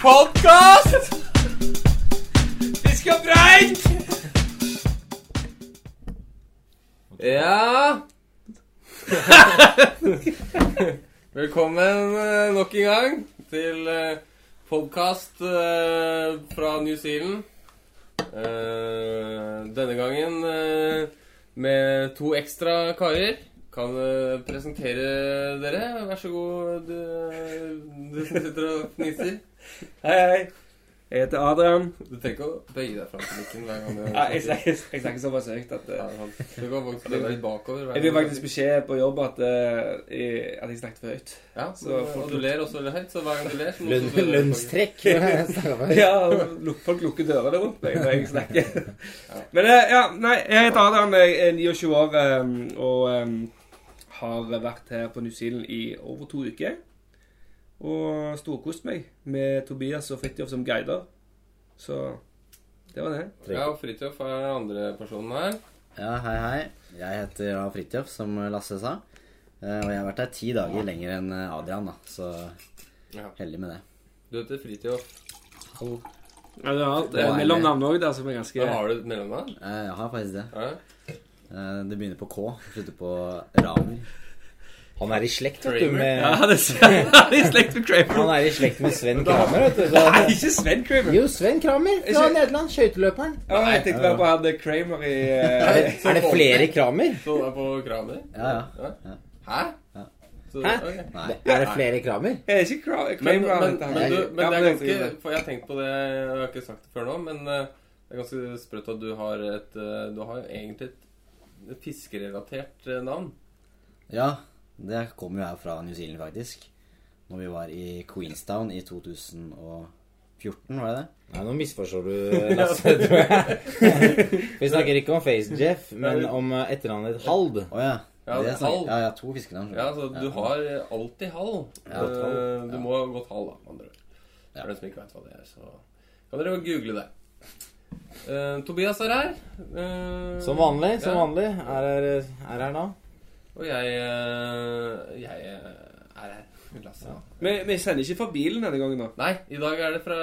Podkast! Vi skal preik! Ja Velkommen eh, nok en gang til podkast fra New Zealand. Eh, Denne gangen eh, med to ekstra karer. Kan eh, presentere dere. Vær så god, eh, du, du som sitter og fniser. Hei, hei. Jeg heter Adrian. Du trenger ikke å bøye deg fram til mikken hver gang du Nei, jeg, snakker- jeg snakker såpass høyt at eh, Ja, sant. Du kan faktisk bøye deg bakover. hver Jeg fikk gang du- faktisk beskjed på jobb at, eh, jeg- at jeg snakket for høyt. Ja, så så, fort- og du ler også veldig høyt, så hver gang du ler så må Lønn, du også bøye deg bakover. lønnstrekk. når jeg snakker med deg. Ja, luk- Folk lukker dørene rundt meg når jeg snakker. Ja. Men eh, ja, nei, jeg heter Adrian. Jeg er 29 år eh, og eh, har vært her på New Zealand i over to uker. Og storkost meg med Tobias og Fridtjof som guider. Så det var det. Ja, og Fridtjof er andre personen her. Ja, hei, hei. Jeg heter da Fridtjof, som Lasse sa. Eh, Og jeg har vært her ti dager lenger enn eh, Adrian, da. Så Ja. heldig med det. Du heter Fridtjof. Ja, det er alt. Eh, Det var en- Mellomnavn òg, der, som er ganske Ja, har du et mellomnavn? Eh, Jeg har faktisk det. Ja. Eh, Det begynner på K, slutter på Ramer. Han er i slekt vet vet du, du, med- med, Ja, det er i slekt med Kramer. han er i slekt med Sven Kramer. Vet du, Nei, ikke Sven Kramer. Jo, Sven Kramer fra Ikke- Nederland. Skøyteløperen. Ja, jeg tenkte bare på han der Kramer i eh, er det flere Kramer? Så du er på Kramer? Ja, ja. Hæ? Ja. Så, Hæ? ok. Nei. Er det flere Kramer? Er det ikke Kramer? Men, Kramer men, han heter han. men, du, men det Ja, er men ganske det. For jeg har tenkt på det, jeg har ikke sagt det før nå, men eh, det er ganske sprøtt at du har et eh, Du har jo egentlig et fiskerelatert eh, navn. Ja, det kom jo her fra New Zealand, faktisk. Når vi var i Queenstown i 2014, var det det? Nei, nå misforstår du, Lasse. Tror jeg. Vi snakker ikke om Face-Jeff, men om eh, etternavnet ditt Hald. Å ja. Ja, det halv. er sånn. Ja, ja, to fiskenavn. Ja, så du har eh, alltid halv. Ja, Eh, halv. Du Ja. må ha gått halv, da, med andre ord. Ja. For den som ikke vet hva det er, så kan dere jo google det. Eh, Tobias er her. Eh, Som vanlig. som ja. vanlig. Er her, er her da. Og jeg eh, Jeg eh, er her. Lasse. Vi, vi sender ikke fra bilen denne gangen, da. Nei, i dag er det fra,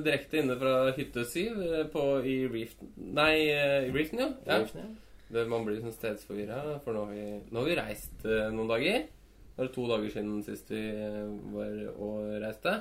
direkte inne fra hytte syv eh, på, i Reefton Nei, eh, i Reefton, ja. ja. Det, man blir sånn stedsforvirra, for nå har vi, nå har vi reist eh, noen dager. Nå er det to dager siden sist vi eh, var og reiste,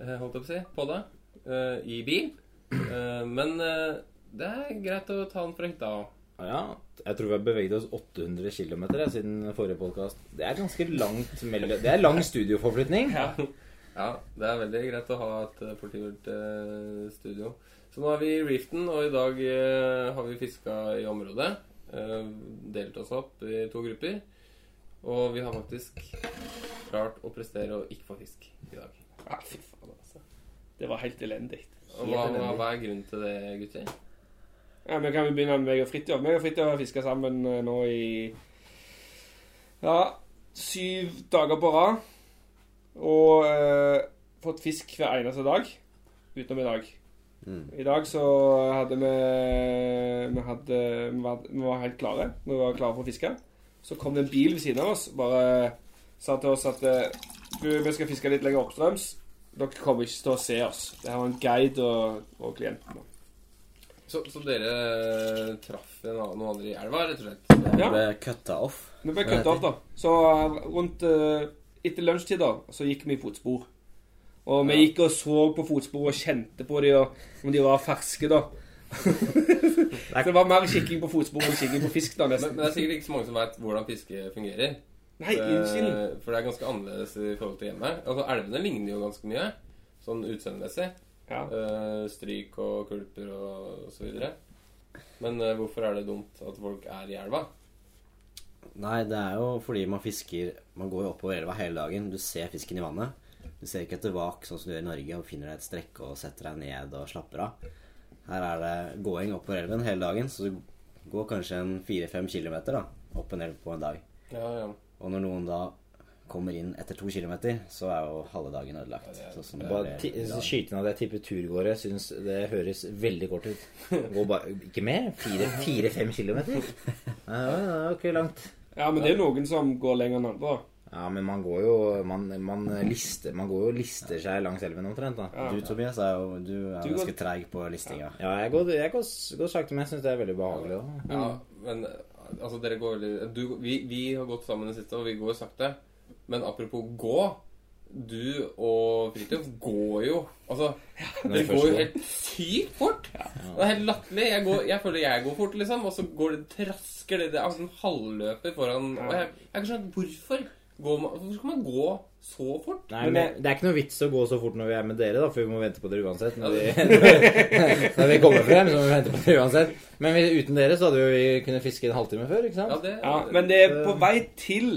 eh, holdt jeg på å si, på det, eh, i bil. Eh, men eh, det er greit å ta den fra hytta òg. Ja, jeg tror vi har beveget oss 800 km siden forrige podkast. Det er ganske langt mellom Det er lang studioforflytning. Ja, det er veldig greit å ha et eh, portivert eh, studio. Så nå er vi i Reefton, og i dag eh, har vi fiska i området. Eh, delt oss opp i to grupper. Og vi har faktisk klart å prestere å ikke få fisk i dag. Ja, fy faen, altså. Det var helt elendig. Og Hva, hva, hva er grunnen til det, gutter? Ja, men Kan vi begynne med meg og Fridtjof? Meg og Fridtjof har fiska sammen eh, nå i ja, syv dager på rad. Og eh, fått fisk hver eneste dag utenom i dag. Mm. I dag så hadde vi Vi, hadde, vi, var, vi var helt klare. Vi var klare for å fiske. Så kom det en bil ved siden av oss bare sa til oss at eh, du, vi skal fiske litt lenger oppstrøms. Dere kommer ikke til å se oss. Det her var en guide og, og klienten. Så, så dere eh, traff en, annen- noen andre i elva, rett og slett? Ja. Jeg ble cutta off. Vi ble kutta opp, da. Så eh, rundt eh, etter lunsjtid da, så gikk vi i fotspor. Og vi Ja. gikk og så på fotspor og kjente på de, og om de var ferske, da. så det var mer kikking på fotspor enn kikking på fisk, da, Men, nesten. men det er sikkert ikke så mange som veit hvordan fiske fungerer. Nei, unnskyld. Eh, For det er ganske annerledes i forhold til hjemme. Altså, Elvene ligner jo ganske mye, sånn utseendemessig. Ja. Eh, Stryk og kulper og så videre. Men eh, hvorfor er det dumt at folk er i elva? Nei, det er jo fordi man fisker Man går jo oppover elva hele dagen. Du ser fisken i vannet. Du ser ikke etter vak, sånn som du gjør i Norge, og finner deg et strekke og setter deg ned og slapper av. Her er det gåing oppover elven hele dagen, så du går kanskje en fire-fem kilometer da, opp en elv på en dag. Ja, ja. Og når noen da kommer inn etter to kilometer, så er jo halve dagen ødelagt. Sånn som det Bare er ti- i dag. Skyte inn at jeg tipper turgåere syns det høres veldig kort ut. Gå bare, ikke mer? Fire-fem fire, fem kilometer? Nei, det var- det var ikke langt. Ja, men det er noen som går lenger enn andre. da. Ja, men man går jo Man, man, lister, man går jo og lister seg langs elven omtrent, da. Ja. Du, Tobias, er jo du er Du går- ganske treig på listinga. Ja, jeg går, jeg går, s- går sakte, men jeg syns det er veldig behagelig òg. Ja, Mm. men eh, altså, dere går veldig du, vi, vi har gått sammen det siste, og vi går sakte. Men apropos gå Du og Fridtjof går jo Altså, dere går jo helt sykt fort! Det er helt latterlig. Jeg, går- jeg føler jeg går fort, liksom, og så går det trasker det Det er sånn halvløper foran Og jeg, jeg har ikke skjønt hvorfor. Går man, hvorfor skal man gå så fort? Nei, Men men det- Det er ikke noe vits å gå så fort når vi er med dere, da, for vi må vente på dere uansett. Når vi, når vi kommer frem, så må vi vente på dere uansett. Men vi, uten dere så hadde jo vi kunnet fiske en halvtime før, ikke sant? Ja, det, Ja, men det eh, er på vei til.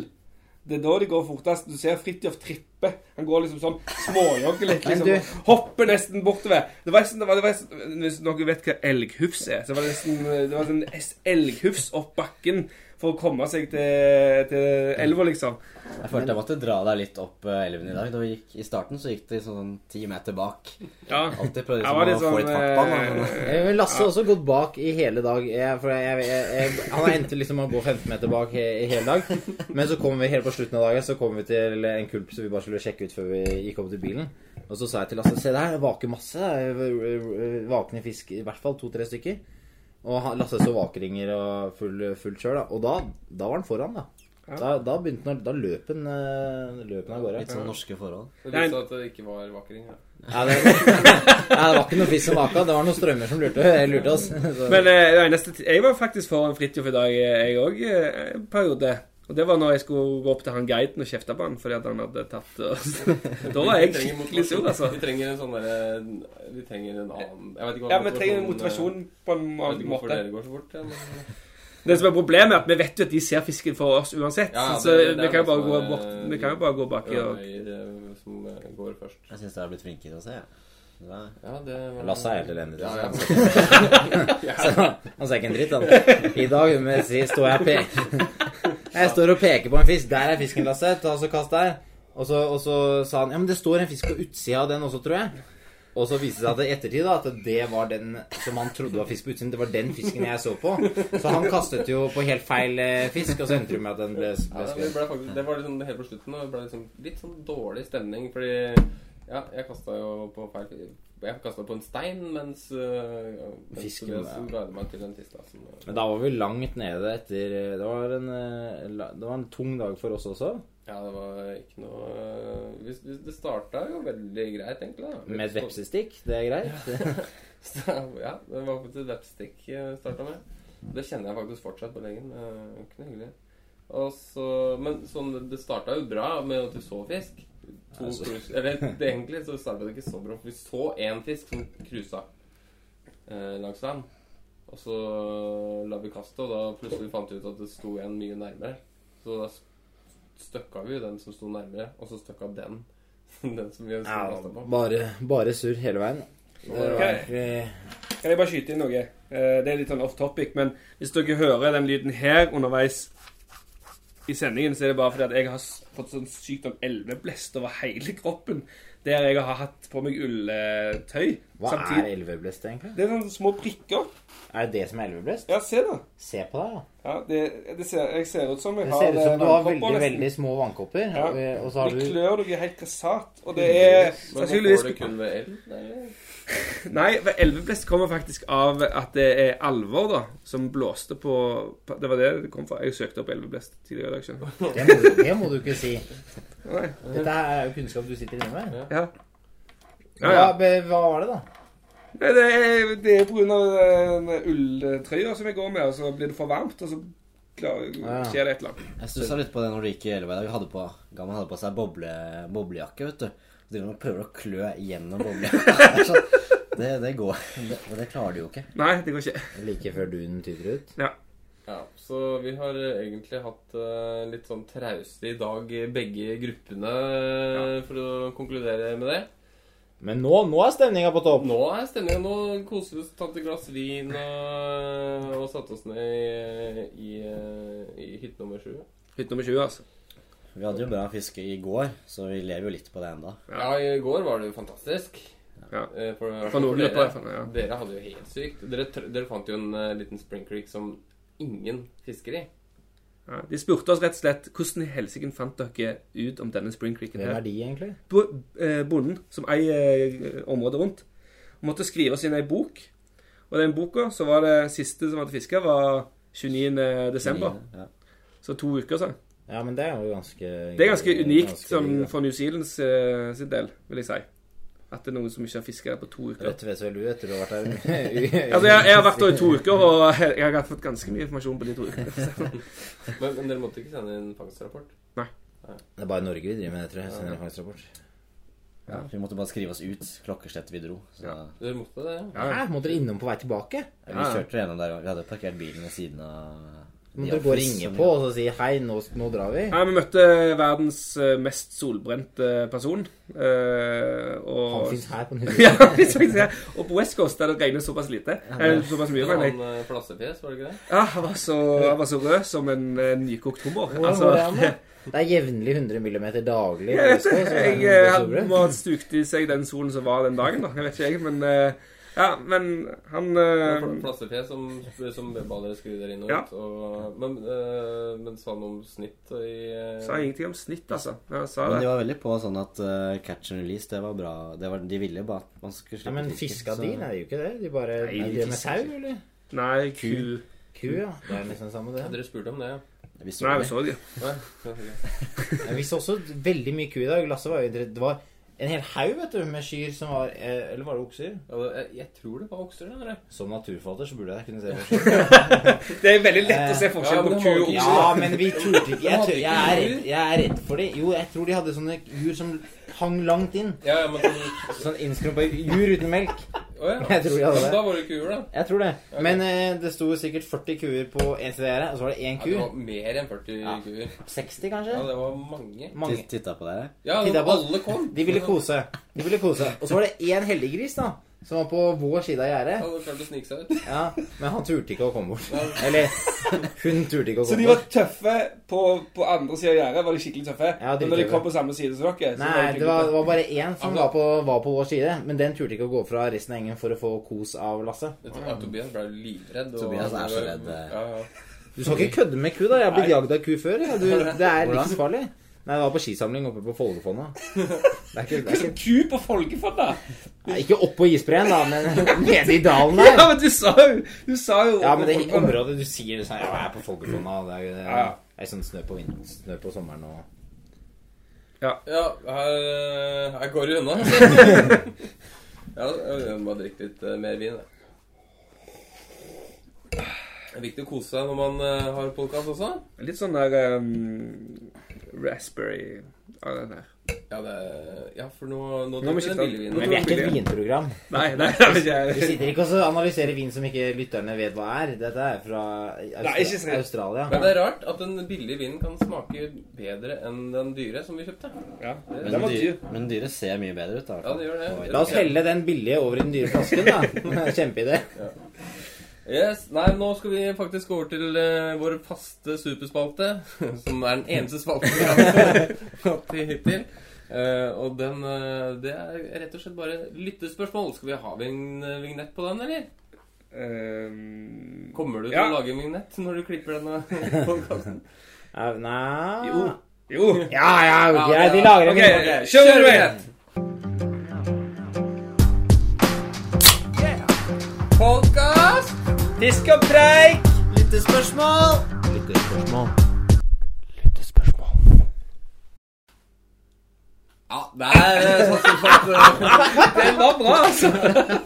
Det er da det går fortest. Du ser Fridtjof trippe. Han går liksom sånn småjogger litt. Men liksom. du- Hopper nesten bortover. Det var nesten, det var, det var nesten, Hvis noen vet hva elghufs er, så var det nesten det var sånn es- elghufs opp bakken for å komme seg til, til elva, liksom. Jeg følte jeg måtte dra deg litt opp eh, elven i dag. Da vi gikk, I starten så gikk det sånn ti meter bak. Ja. Alltid prøvde Jeg var liksom, å litt få sånn litt fart på han. da, men- Eh, men Lasse har også gått bak i hele dag. Jeg, for jeg, jeg, jeg, han endte liksom med å gå 15 meter bak he, i hele dag. Men så kom vi helt på slutten av dagen Så kom vi til en kulp som vi bare skulle sjekke ut før vi gikk opp til bilen. Og så sa jeg til Lasse Se der, det vaker masse. Det er Vakne fisk. I hvert fall to-tre stykker. Og han- Lasse så vakringer og full, fullt kjør. Da. Og da, da var han foran, da. Da, da begynte han, da løp han eh, løp han av gårde. Litt sånn norske forhold. det viste seg at det ikke var vakring. Ja. Ja, det, ja, det var ikke noe fisk som vaka. Det var noen strømmer som lurte, lurte oss. Så. Men eh, det eneste, ti- jeg var faktisk foran Fridtjof i dag, eh, jeg òg, eh, en periode. Og det var når jeg skulle gå opp til han guiden og kjefte på han fordi at han hadde tatt eh, Da var jeg Vi trenger skikkelig sur, motivasjon. altså. Vi trenger en sånn derre Vi trenger en annen Jeg vet ikke hva Ja, vi trenger eh, motivasjon på en Jeg vet ikke hvorfor måte. dere går så fort. Ja, men, Det som er problemet, er at vi vet jo at de ser fisken for oss uansett. Ja, det- så det- det vi er kan jo det bare som eh, gå er- bort Vi kan jo bare gå baki og øyer, eh, som eh, går først. Jeg syns dere har blitt flinkere til å se. Ja. Ja, det var Lasse er helt elendig. ja, altså. ja. Han sa ikke en dritt, han. I dag med si, står jeg og peker Jeg står og peker på en fisk. Der er fisken, Lasse. Ta så kast der. Og så, og så sa han Ja, men det står en fisk på utsida av den også, tror jeg. Og så viste det seg at i ettertid da, at det var den som han trodde var fisk på utsiden. Det var den fisken jeg så på. Så han kastet jo på helt feil eh, fisk, og så endte det med at den ble, ble Ja, det, skutt. ble faktisk, det var liksom helt på slutten, og det ble liksom litt sånn dårlig stemning, fordi Ja, jeg kasta jo på feil Jeg kasta på en stein, mens, eh, ja, mens Fisken, Tobias ja. guidet meg til en tiss. da, som, eh, Men da var vi langt nede etter Det var en, eh, la- det var en tung dag for oss også. Ja, det var ikke noe eh, hvis- hvis Det starta jo veldig greit, egentlig. da. Med et vepsestikk. Det er greit. Så, ja, det var faktisk et webstick jeg starta med. Det kjenner jeg faktisk fortsatt på leggen. eh, Ikke noe hyggelig. Og så, men sånn, det starta jo bra med at du så fisk. To Altså. krus, eller det, egentlig så starta det ikke så bra, for vi så én fisk som cruisa eh, langs land. Og så eh, la vi kastet, og da plutselig fant vi ut at det sto en mye nærmere. Så da støkka vi jo den som sto nærmere, og så støkka den. Den som vi Ja, kasta på. bare, bare surr hele veien. Det Ok. var, eh, Kan jeg bare skyte inn noe? Eh, Det er litt sånn off topic, men hvis dere hører den lyden her underveis i sendingen, så er det bare fordi at jeg har s- fått sånn sykt sånn elveblest over hele kroppen. Der jeg har hatt på meg ulletøy. hva er Samtidig elveblest, egentlig? Det er sånne små prikker. Er det det som er elveblest? Ja, se da. Se på deg, da. Ja, det, det ser, jeg ser ut som jeg Det har ser ut som du har vannkopper veldig nesten. veldig små vannkopper. Ja. Og, eh, og så har Det du klør dere helt grassat, og det er Men sannsynligvis får det kun ved elg? eller? Nei, for elveblest kommer faktisk av at det er alvor, da, som blåste på på- Det var det det kom fra. Jeg søkte opp elveblest tidligere i dag, skjønner du. det må, du- det må du ikke si. Nei. Dette er jo kunnskap du sitter inne med. Ja. Ja, Hva, ja. be- hva var det, da? Nei, Det er, det er på grunn av den ulltrøya som jeg går med, og så blir det for varmt, og så klar, Ja. skjer det et eller annet. Jeg stussa litt på det når du gikk i elva i dag. Hadde på- Gammal hadde på seg boble, boblejakke, vet du. Så driver han og prøver å klø gjennom boblejakka. Det, er sånn- det, det går. Det, og det klarer du jo ikke. Nei, det går ikke. Like før duen tyter ut. Ja. Ja, så vi har eh, egentlig hatt eh, litt sånn trauste i dag, eh, begge gruppene, eh, for å konkludere med det. Men nå, nå er stemninga på topp. Nå er stemninga Nå koser vi oss, tatt et glass vin og, og satt oss ned i, i, eh, i hytte nummer sju. Hytte nummer 20, altså. Vi hadde jo bra fiske i går, så vi lever jo litt på det enda. Ja, i går var det jo fantastisk. Ja. Eh, For, For noen dere- grupper, i hvert fall, ja. Dere hadde jo helt sykt. Dere, tr- dere fant jo en eh, liten spring creek som ingen fisker i. Ja, de spurte oss rett og slett hvordan i helsike fant dere ut om denne Spring Creeken Hvem her. er de, egentlig? Bo- eh, bonden som eier eh, området rundt, måtte skrive oss inn ei bok. Og den boka så var det siste som hadde fiska, var 29. desember. Ja. Så to uker siden. Ja, men det er jo ganske Det er ganske unikt ganske sånn, unikt, da. for New Zealands eh, sin del, vil jeg si. At det er noen som ikke har fiska på to uker. Rett vet vel du etter du har vært her. Altså, jeg, jeg har vært der i to uker, og jeg har fått ganske mye informasjon på de to ukene. Men, men dere måtte ikke sende inn fangstrapport? Det er bare i Norge vi driver med det, tror jeg. Sender en fangstrapport. Ja. Vi måtte bare skrive oss ut klokkeslettet vi dro. Så Ja. Dere måtte det? ja. Ja. Hæ? Må dere innom på vei tilbake? Ja, Ja, vi ja. kjørte gjennom der. og Vi hadde parkert bilen ved siden av Må The dere gå og Office, ringe som- på og så si 'hei, nå, nå drar vi'? Nei, vi møtte verdens eh, mest solbrente person. eh, Han og fins her på Nyhetsnytt. ja, hvis jeg sier. Og på West Coast der det regner såpass lite Eller såpass mye, mener jeg. Sånn eh, flassefjes, var det ikke det? Ja, han, var så, han var så rød som en eh, nykokt hummer. Hvordan Altså, går det an, da? Det er jevnlig 100 millimeter daglig. jeg vet Så det. er det Jeg, noe eh, han solbrent. må ha stukt i seg den solen som var den dagen, da. Jeg vet ikke, jeg. Men eh, ja, men han Det eh, var Flassefjes som, som ba dere skru dere inn og Ja. ut. Og, men, eh, men sa han om snitt i eh, sa ingenting om snitt, altså. Ja, sa Men de det. var veldig på sånn at eh, catch and release, det var bra. Det var, de ville jo bare at man skulle Ja, slippe men fisken, fiska så- din er jo ikke det. De bare Nei, Er de det med fisker sau, ikke. eller? Nei, ku Ku, ja. Det er nesten samme, det. Dere spurte om det, ja? Vi så Nei, vi det. så det. Nei, ok. Ja, Vi så også veldig mye ku i dag. Lasse var jo inter- Det var en hel haug vet du, med kyr som var eh, Eller var det okser? Ja, det- jeg, jeg tror det var okser. det, Dere. Som naturfatter så burde jeg kunne se forskjell. Det er veldig lett å se Ja, forskjell men på det ku var- og okse. Ja, men vi turte ikke. Jeg, tør, jeg, er, Hadde ikke redd, jeg er redd for de. Jo, jeg tror de hadde sånne jur som hang langt inn. Ja, ja, men sånn, Sånn innskrumpa jur uten melk. å, ja. Jeg tror jeg Ja, hadde men det. Da var det kuer, da. Jeg tror det. Men eh, det sto sikkert 40 kuer på en CDR, og så var det én Ja, ku. det var mer enn 40 Ja. kuer. 60, Ja, kanskje? det var mange. Mange. Titt- Titta på dere. Ja, Tidda på- alle kom. De ville kose. De ville kose. Og så var det én heldiggris, da. Som var på vår side av Ja, gjerdet. Hadde klart å snike seg ut. Ja, men han turte ikke å komme bort. Eller hun turte ikke å Så de komme var bort. tøffe på, på andre sida av gjerdet? Var de skikkelig tøffe? Ja, de Men når de tøffe. kom på samme side som dere? så de Nei, det var, skikkelig det var bare én som Ja, men- var på, var på vår side. Men den turte ikke å gå fra resten av gjengen for å få kos av Lasse. Jeg tror- Ja, Tobias ble livredd. og- Tobias er så redd, eh. Ja, ja. Du skal ikke kødde med ku, da. Jeg har blitt jagd av ku før. Ja. Du, det er Hvordan? livsfarlig. Nei, det var på skisamling oppe på Foldefonna. Det er ikke, det er tøffe. ikke, Ku på Folgefonna! nei, ikke oppå isbreen, da, men nede i dalen Ja, der. men du sa jo Du sa jo Ja, men det er i området du sier sånn Ja, jeg er på Foldefonna. Det er, det Ja. er, det er sånn snø på, vinteren, snø på sommeren og Ja, her, eh, her går det unna. ja, jeg må bare drikke litt eh, mer vin. Jeg. Det er viktig å kose seg når man eh, har podkast også. Litt sånn der um, raspberry av den her. Ja, det, ja for nå Nå Nå må drikker vi vi den billige skifte. Men vinen. vi er ikke et vinprogram. Nei, nei, det er ikke Vi sitter ikke og så analyserer vin som ikke lytterne vet hva er. Dette er fra Nei, ikke Austra sant. Australia. Men det er rart at den billige vinen kan smake bedre enn den dyre som vi kjøpte. ja. Men, Den var dyr. dyr. men dyre ser mye bedre ut. da i hvert Ja, det gjør det. fall. La oss helle den billige over i den dyre flasken, da. Kjempeidé. Yes, Nei, nå skal vi faktisk gå over til eh, vår faste superspalte, som er den eneste spalten vi har hatt til hittil. Eh, og den eh, Det er rett og slett bare lyttespørsmål. Skal vi ha vign vignett på den, eller? Um, Kommer du til Ja. å lage en vignett når du klipper denne podkasten? Ja, Nei Jo. Jo. Ja, ja, ok, Ja, ja. de lager en OK, vinnplan. kjør vignett! Podkast! Disk og preik! Lyttespørsmål! Ja, der eh, satser vi på at eh, Den var bra, altså.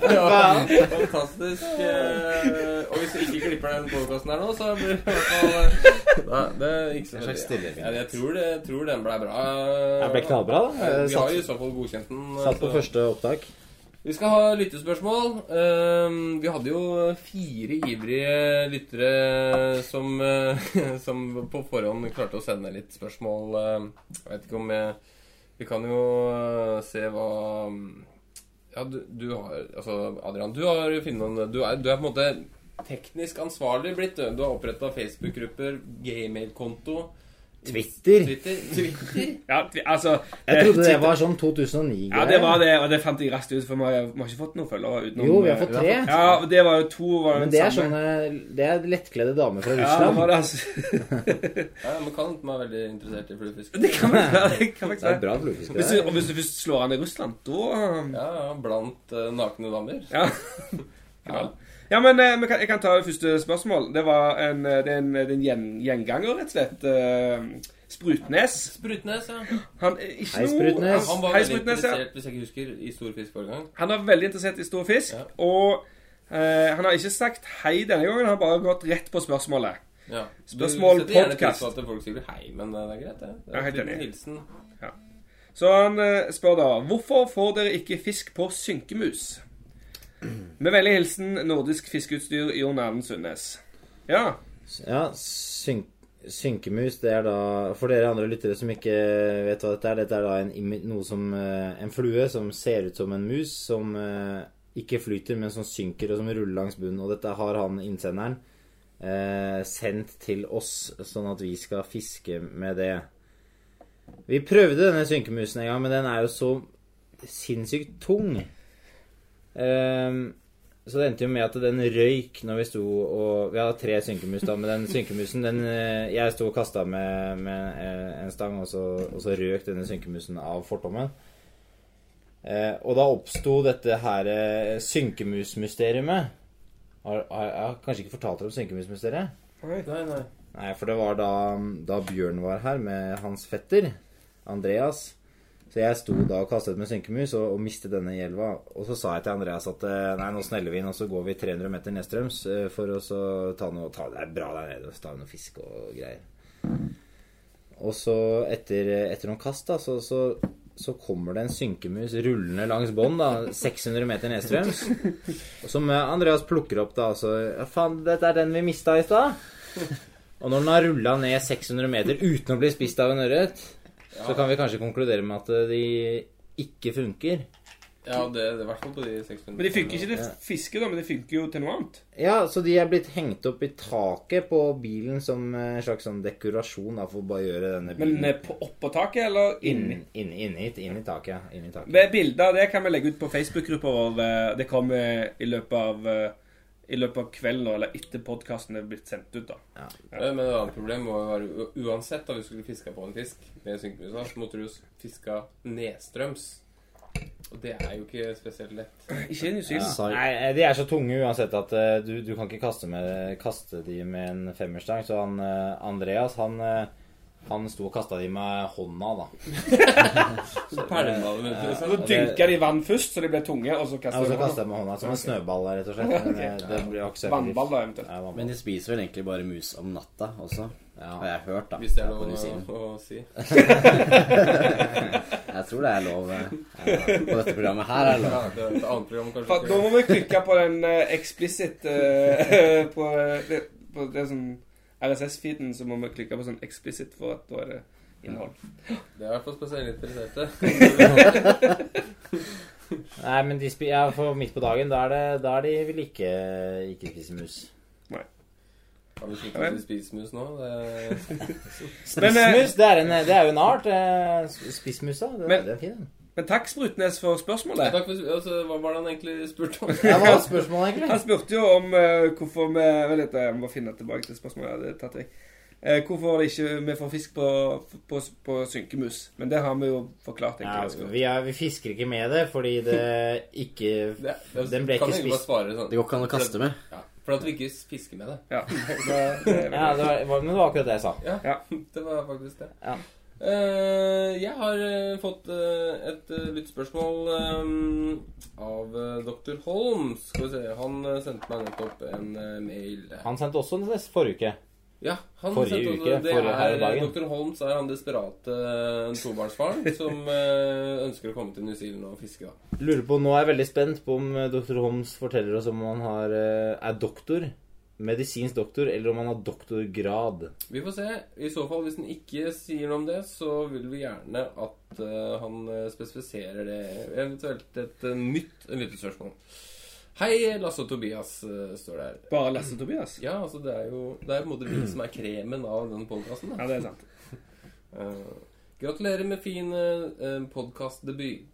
Ja, fantastisk. eh, Og hvis vi ikke klipper den podkasten her nå, så blir det i hvert fall Nei, det gikk så En slags veldig. stillhet. Ja, jeg tror, det, jeg tror den ble bra. Det ble knallbra, da. Eh, Vi har jo i Satt, så fall godkjent den. satt på så- første opptak. Vi skal ha lyttespørsmål. Eh, Vi hadde jo fire ivrige lyttere som, eh, som på forhånd klarte å sende litt spørsmål. Eh, Jeg vet ikke om jeg Vi kan jo eh, se hva ja, du, du har Altså, Adrian, du har jo funnet noen du er, du er på en måte teknisk ansvarlig blitt. Du Du har oppretta Facebook-grupper, gmail-konto. Twitter? Twitter? Twitter? Ja, vi- altså Jeg det- trodde det var sånn 2009-greier. Ja, det var det, og det fant jeg raskt ut, for vi har, vi har ikke fått noen følgere utenom eh, Jo, vi har fått tre. Ja, og det var jo to var jo Men den det er sånn samme. sånne Det er lettkledde damer fra Ja, det var Russland. det, altså. Ja, men kan ikke være veldig interessert i fluefisk. Det kan man være. Det kan man Det er være. bra fluefiske. Hvis det. du, og hvis du først slår an i Russland, da um, Ja, ja, blant eh, nakne damer. Ja. ja. Ja, men eh, vi kan, jeg kan ta det første spørsmål. Det var en, eh, det er en, det er en gjen, gjenganger, rett og slett. eh, Sprutnes. Sprutnes, ja. Han er ikke Hei, noe- Sprutnes. Han var Hei, veldig Sprutnes, ja. interessert, hvis jeg ikke husker, i stor fisk forrige gang. Han er veldig interessert i stor fisk, Ja. og eh, han har ikke sagt hei denne gangen. Han har bare gått rett på spørsmålet. Ja. Spørsmål, Du setter gjerne podcast. pris på at folk sier hei, men eh, det er greit, det. Det Jeg er helt Trygve enig. Nilsen. Så han eh, spør da Hvorfor får dere ikke fisk på synkemus? Med vennlig hilsen Nordisk Fiskeutstyr Jon Erlend Sundnes. Ja. Ja, syn synkemus, det er da For dere andre lyttere som ikke vet hva dette er, dette er da en, imi- noe som eh, En flue som ser ut som en mus, som eh, ikke flyter, men som synker og som ruller langs bunnen. Og dette har han innsenderen eh, sendt til oss, sånn at vi skal fiske med det. Vi prøvde denne synkemusen en gang, men den er jo så sinnssykt tung. Ehm, så det endte jo med at den røyk når vi sto og Vi hadde tre synkemus, da, men den synkemusen den, eh, Jeg sto og kasta med, med eh, en stang, og så, og så røk denne synkemusen av fortommen. Eh, og da oppsto dette her eh, synkemusmysteriet. Har, har, jeg har kanskje ikke fortalt dere om synkemusmysteriet? Nei, nei. Nei, for det var da, da Bjørn var her med hans fetter, Andreas. Så jeg sto da og kastet med synkemus og, og mistet denne i elva. Og så sa jeg til Andreas at eh, nei, nå sneller vi inn, og så går vi 300 meter nedstrøms eh, for å så ta noe ta, Det er bra der nede, så tar vi noe fisk og greier. Og så etter, etter noen kast, da, så, så, så kommer det en synkemus rullende langs bånd, da, 600 meter nedstrøms. Og Som eh, Andreas plukker opp, da, og så Ja, faen, dette er den vi mista i stad. Og når den har rulla ned 600 meter uten å bli spist av en ørret, så kan vi kanskje konkludere med at eh, de ikke funker. Ja, det, det er i hvert fall på de 600 Men de funker ikke til fiske, da, men de funker jo til noe annet. Ja, så de er blitt hengt opp i taket på bilen som eh, en slags sånn dekorasjon da, for å bare gjøre denne Men bilen eh, på oppå taket, eller Mm. inni? inn, inn, inn, hit, inn i taket. ja, Inn i taket. Med bilder av det kan vi legge ut på Facebook-gruppa vår. eh, Det kommer i løpet av eh, i løpet av kvelden nå, eller etter podkasten er blitt sendt ut. da. Ja, Men et annet problem må jo være u- uansett da vi skulle fiske på en fisk med synkemusa, så måtte du jo s- fiske nedstrøms. Og det er jo ikke spesielt lett. Ikke i New Ja. Zealand. Nei, eh, de er så tunge uansett at eh, du, du kan ikke kaste, med, kaste de med en femmerstang. Så han eh, Andreas, han, eh, han sto og kasta de med hånda, da. Så pælma det med Så liksom. dynka de i vann først, så de ble tunge, og så Ja, og kastet så de altså kastet vann. jeg med hånda som en snøball, rett og slett. Men, eh, Det blir jo ikke så Vannball, da, eventuelt. Ja, vannball. Men de spiser vel egentlig bare mus om natta også, har ja. jeg hørt, da. Hvis det er på New Zealand. lov å, å si. Jeg tror det er lov. eh, Ja, på dette programmet her er det lov. Ja, det er et annet program For kanskje Da ikke. må vi klikke på den eh, explicit eh, på, det, på det som RSS-feeden, så må vi klikke på sånn explicit, for at da er det innhold. Det er i hvert fall spesielt interesserte. Nei, men de spi ja, for midt på dagen, da er, det, da er de vil ikke, ikke spise mus. Kan vi slutte å si spismus nå? Det... Men, eh, Spissmus, det, er en, det er jo en art. eh, Spissmus, da. Det, Men- det er fint. Men takk, Sprutnes, for spørsmålet. Takk for, altså, hva var det han egentlig spurte om? Ja, hva var spørsmålet, egentlig? Han spurte jo om eh, hvorfor vi Vel, dette, jeg må finne tilbake til spørsmålet. jeg hadde tatt vekk. Eh, hvorfor det ikke vi får fisk på, på, på synkemus. Men det har vi jo forklart. Ja, egentlig. vi, er, vi fisker ikke med det fordi det ikke Det, det, Den ble kan ikke vi egentlig bare spist. svare sånn. Det går ikke an å kaste med. Ja, for at vi ikke fisker med det. Ja. Ja, det var, var- men det var akkurat det jeg sa. Det var faktisk det. Ja. Eh, jeg har eh, fått eh, et uh, lyttspørsmål eh, av eh, dr. Holm. Skal vi se Han eh, sendte meg nettopp en eh, mail. Han sendte også en test forrige uke. Ja, han Forrige sendte uke, det forrige her i er, dagen. Dr. Holmes er han desperate eh, tobarnsfaren som eh, ønsker å komme til New Zealand og fiske. da Lurer på, Nå er jeg veldig spent på om eh, dr. Holmes forteller oss om han har, eh, er doktor, medisinsk doktor, eller om han har doktorgrad. Vi får se. I så fall, hvis han ikke sier noe om det, så vil vi gjerne at eh, han eh, spesifiserer det. Eventuelt et eh, nytt lyttespørsmål. Hei, Lasse og Tobias, eh, står det her. Bare Lasse Tobias? Ja, altså det er jo Det er på en måte vi som er kremen av den podkasten. Ja, det er sant. Eh, gratulerer med fin uh, podkastdebut.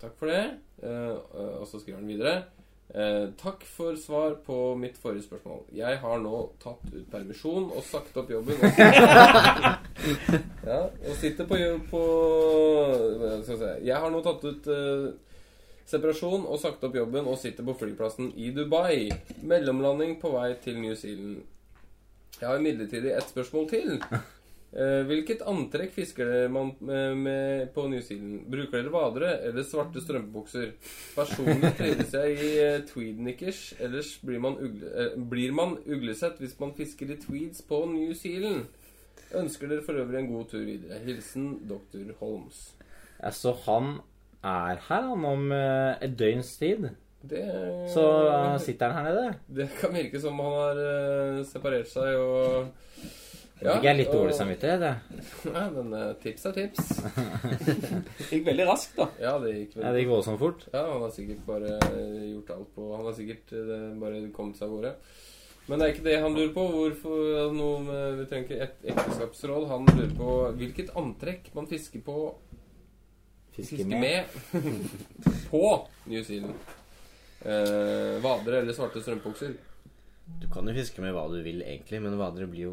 Takk for det. Eh, eh, og så skriver han videre. Eh, takk for svar på mitt forrige spørsmål. Jeg har nå tatt ut permisjon og sagt opp jobben. Og ja, og sitter på, jobb på eh, hva Skal vi se Jeg har nå tatt ut eh, separasjon og sagt opp jobben og sitter på flyplassen i Dubai. Mellomlanding på vei til New Zealand. Jeg har imidlertid et spørsmål til. Eh, hvilket antrekk fisker dere man med, med på New Zealand? Bruker dere vadere eller svarte strømpebukser? Personlig trives jeg i eh, tweednikkers, ellers blir man, ugle, eh, blir man uglesett hvis man fisker i tweeds på New Zealand. Ønsker dere for øvrig en god tur videre. Hilsen Dr. Holmes. Ja, Eh, så han er her, han, om eh, et døgns tid. Det, Så eh, sitter han her nede. det kan virke som han har eh, separert seg og Ja, Fikk jeg litt dårlig og- samvittighet, jeg. Nei, men eh, tips er tips. Gikk veldig raskt, da. Ja, det gikk Ja, vel. det gikk voldsomt fort. Ja, han har sikkert bare eh, gjort alt på Han har sikkert eh, bare kommet seg av gårde. Men det er ikke det han lurer på. Hvorfor noe med, Vi trenger ikke et ekteskapsråd. Han lurer på hvilket antrekk man fisker på Fisker med på New Zealand. Eh, vadere eller svarte strømpebukser. Du kan jo fiske med hva du vil, egentlig, men vadere blir jo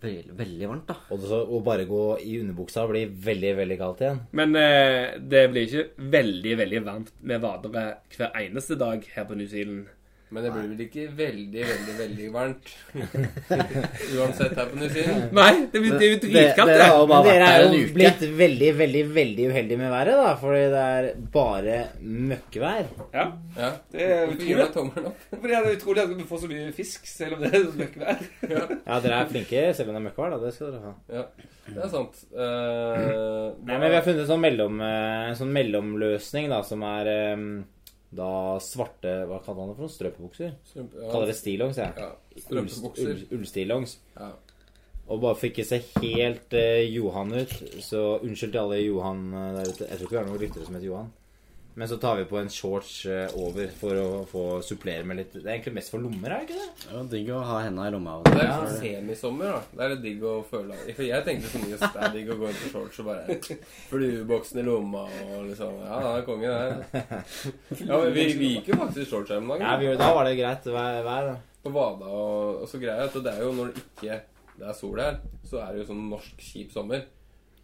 veldig, veldig varmt, da. Og så å bare gå i underbuksa blir veldig, veldig kaldt igjen. Men eh, det blir ikke veldig, veldig varmt med vadere hver eneste dag her på New Zealand. Men det blir vel ikke veldig, veldig, veldig varmt uansett her på New Zealand. Nei, det blir det er jo dritkaldt, Dere det. har jo bare Men dere vært er der en jo uke. blitt veldig, veldig, veldig uheldige med været, da. Fordi det er bare møkkvær. Ja, Ja. det er Hvorfor gir utrolig. du tommelen opp? Fordi det er utrolig at vi får så mye fisk, selv om det er så mye vær. Ja, dere er flinke selv om det er møkkvær, da. Det skal dere ha. Ja, det er sant. Eh, Nei, men vi har funnet en sånn, mellom, eh, en sånn mellomløsning, da, som er eh, da svarte Hva kaller man det for noe? Strømpebukser? strømpe- Kaller det stillongs, jeg. Ja, Ulls- strømpebukser. ull- Ullstillongs. Ja. Og bare for ikke se helt eh, Johan ut, så unnskyld til alle Johan eh, der ute. Jeg tror ikke vi har noen lyttere som heter Johan. Men så tar vi på en shorts eh, over for å få supplere med litt Det er egentlig mest for lommer, er det ikke det? Det er jo digg å ha henda i lomma. Det er Og liksom semisommer, da. Det er litt digg å føle For jeg tenkte så mye at det er digg å gå inn på shorts og bare Flueboksen i lomma og liksom Ja, det er kongen, det her. Ja, men vi, vi gikk jo faktisk i shorts her om dagen. Ja, vi, gjorde- da var det greit vær, vær da. på Vada og, og så greier jeg at det er jo når det ikke det er sol her, så er det jo sånn norsk kjip sommer.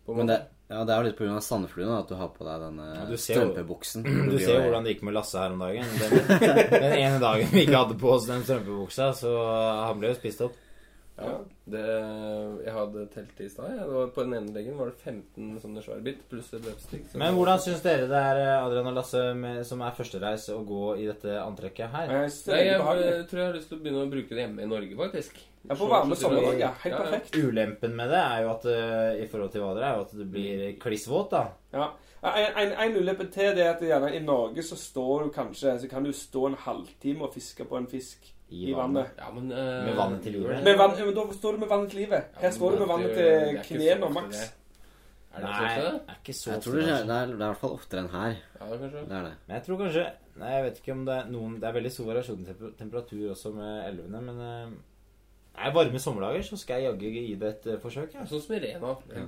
På en måte. Men det, ja, det er jo litt pga. sandfluen da, at du har på deg denne du ser jo- strømpebuksen. Du ser jo hvordan det gikk med Lasse her om dagen. Den, den ene dagen vi ikke hadde på oss den strømpebuksa, så han ble jo spist opp. Ja, det, jeg hadde telt i stad. jeg. Det var- På den ene leggen var det 15 sånne svære bitt pluss et løpstikk. så- Men hvordan syns dere det er, eh, Adrian og Lasse, med, som er førstereis, å gå i dette antrekket her? Jeg synes det Nei, er jeg veldig behagelig. eh, tror jeg har lyst til å begynne å bruke det hjemme i Norge, faktisk. Jeg får varme Shorts og sommerdag, strømper. ja. Helt perfekt. Ulempen med det er jo at eh, i forhold til hva dere er, jo at du blir kliss våt, da. Ja. En, en, en ulempe til det er at gjerne i Norge så står du kanskje Så kan du stå en halvtime og fiske på en fisk i vannet. Ja, men, eh, Med vannet til livet. Men, vann, men da står du med vannet til livet. Ja, Her står du med men vannet det er jo- det er ikke til så knærne og ofte maks. det. Er det Nei, så ofte? det? er ikke så Jeg ofte, tror det, det, er, kanskje. det er i hvert fall oftere enn her. Ja, kanskje. Det er det. Men jeg tror kanskje Nei, jeg vet ikke om det er noen Det er veldig stor variasjon i temper- temperatur også med elvene, men eh, Nei, varme sommerdager, så skal jeg jaggu gi det et eh, forsøk. Ja. Sånn som Irena. Ja,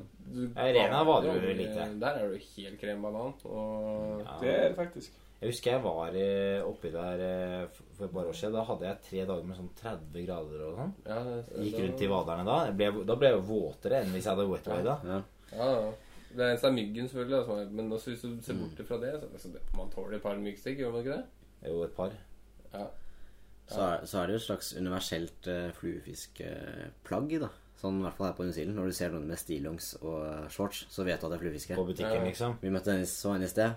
Irena vader jo lite. Der er du helt krem banan. Og Ja. Det er det faktisk. Jeg husker jeg var eh, oppi der eh, for- for et par år siden. Da hadde jeg tre dager med sånn 30 grader og sånn. ja, Gikk rundt i vaderne da. Jeg ble, da ble jeg jo våtere enn hvis jeg hadde wetwida. Ja. Ja, ja. Det eneste er myggen, selvfølgelig. da, som er- Men også hvis du ser bort fra det, så altså, det- man tåler et par myggstikk, gjør man ikke det? Jo, et par. Ja. Så, er, så er det jo et slags universelt uh, fluefiskeplagg, da. Sånn i hvert fall her på New Zealand. Når du ser noen med stillongs og eh, shorts, så vet du at det er fluefiske. På butikken, Ja. liksom. Vi møtte en, så en i sted.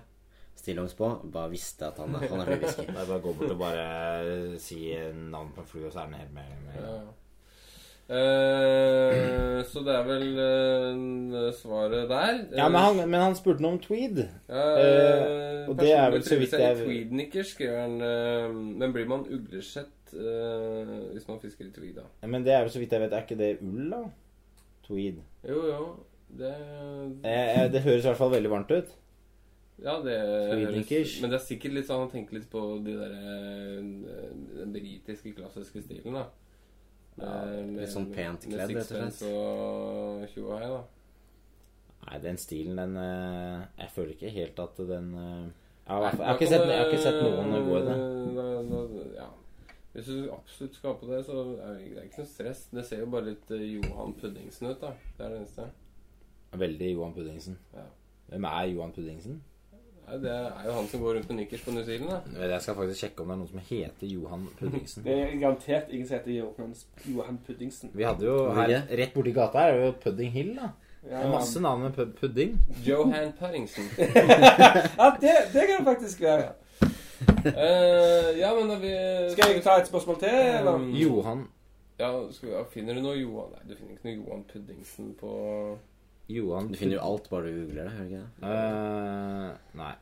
Stillongs på. Bare visste at han, han er fluefisker. Da er det bare å gå bort og bare si navn på en flue, og så er den helt med. med. Ja. Eh, så det er vel eh, svaret der. Ja, men han, men han spurte noe om tweed. Eh, og det er vel personlig så vidt trives jeg jeg- i Tweednicker, skriver han. eh, men blir man uglesett eh, hvis man fisker i tweed, da? Men det er jo så vidt jeg vet, er ikke det ull, da? Tweed. Jo, jo. Det Eh, eh, det høres i hvert fall veldig varmt ut. Ja, det Tweednickers. høres Men det er sikkert litt sånn Han tenker litt på de der, eh, den britiske, klassiske stilen, da. Ja, Eh, med- litt sånn pent kledd, Med rett og slett. sixpence og tjo og hei, da. Nei, den stilen, den eh, Jeg føler ikke helt at den eh, jeg, har, i hvert fall- jeg, har ikke sett, jeg har ikke eh, sett noen gå i det. Da- da- Ja. Hvis du absolutt skal ha på det, så er det ikke- det er ikke noe stress. Det ser jo bare litt eh, Johan Puddingsen ut, da. Det er det eneste. Veldig Johan Puddingsen. Ja. Hvem er Johan Puddingsen? Nei, det er jo han som går rundt med nikkers på New Zealand, da. Vet, Jeg skal faktisk sjekke om det er noen som heter Johan Puddingsen. Det er garantert ingen som heter Johan, Johan Puddingsen. Vi hadde jo Hvor her, er Rett borti gata her er jo Pudding Hill, da. Det Ja, er masse navn med pud- pudding. Johan Puddingsen. ja det, det kan det faktisk være. Eh, ja, men da vi Skal jeg ta et spørsmål til, eller? Um, Mm. Johan Ja, skal vi, ja, Finner du noe Johan Nei, du finner ikke noe Johan Puddingsen på Johan Du finner jo alt bare du googler det. hører du ikke det? Eh, Nei.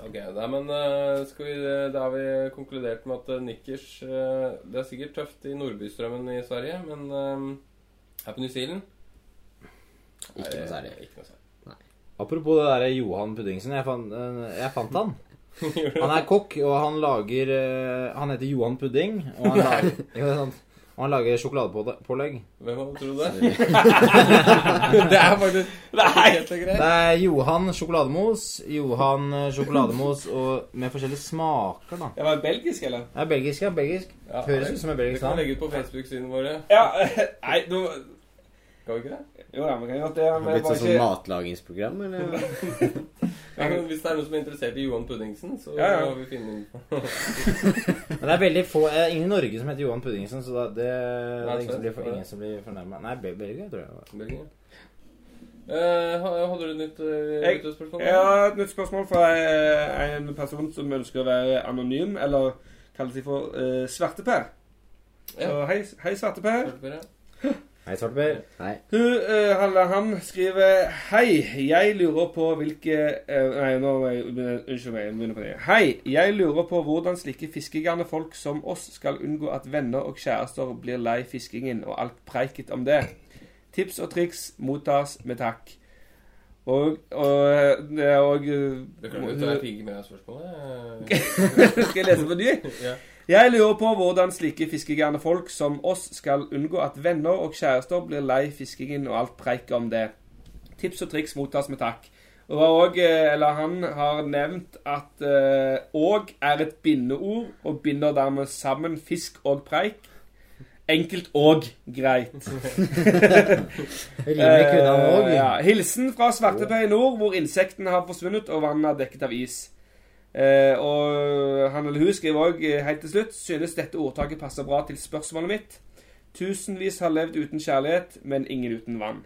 Ok, nei, men eh, skal vi, Da har vi konkludert med at eh, nikkers eh, Det er sikkert tøft i Nordbystrømmen i Sverige, men eh, her på New Zealand Ikke noe er særlig. det Ikke noe særlig. Apropos det derre Johan Puddingsen. Jeg fant, eh, jeg fant han. Gjorde du Han er kokk, og han lager eh, Han heter Johan Pudding, og han lager, jo, det er sant. Og han lager sjokoladepålegg. Hvem hadde trodd det? det er faktisk Nei! Det er Johan sjokolademos, Johan eh, sjokolademos og med forskjellige smaker, da. Jeg var belgisk, eller? Det er belgisk, ja. Belgisk. Ja, Høres ut som et det belgisk kan vi navn. legge ut på Facebook-sidene våre. Ja, nei, nå Kan vi ikke det? Jo da, vi kan gjøre det. Har det Men blitt bare sånn sånn ikke matlagingsprogram, eller? Ja, men hvis det er noen som er interessert i Johan Puddingsen, så Ja, ja. må vi finne den. Men det er veldig få eh, Ingen i Norge som heter Johan Puddingsen, så da, det, det er ingen som blir, for- svensk. ingen som blir fornærma. Nei, Bel- Belgia, tror jeg. det var. Belgia. Eh, ha- hadde du et nytt uh, Jeg- lyttespørsmål? Jeg har et nytt spørsmål fra eh, en person som ønsker å være anonym, eller kaller seg for eh, Svarteper. Ja. Så hei, hei Svarteper. Hei, Svarteper. Nei. Hun, eh, eller han, skriver Hei, jeg lurer på hvilke eh, Nei, nå må jeg Unnskyld meg, jeg begynner på det. Hei, jeg lurer på hvordan slike fiskegarne folk som oss skal unngå at venner og kjærester blir lei fiskingen og alt preiket om det. Tips og triks mottas med takk. Og Og, eh, det er og Det kan du ta en pigg med deg spørsmålet. Skal jeg lese på ny? Ja. Jeg lurer på hvordan slike fiskegarne folk som oss skal unngå at venner og kjærester blir lei fiskingen og alt preiket om det. Tips og triks mottas med takk. Og det var også, eh, eller Han har nevnt at eh, 'og' er et bindeord, og binder dermed sammen fisk og preik. Enkelt og greit. Rimelig kunne han Eh, òg. ja. Hilsen fra Svarteper i nord, hvor insektene har forsvunnet og vannet er dekket av is. Eh, og han eller hun skriver òg helt til slutt synes dette ordtaket passer bra til spørsmålet mitt. Tusenvis har levd uten kjærlighet, men ingen uten vann.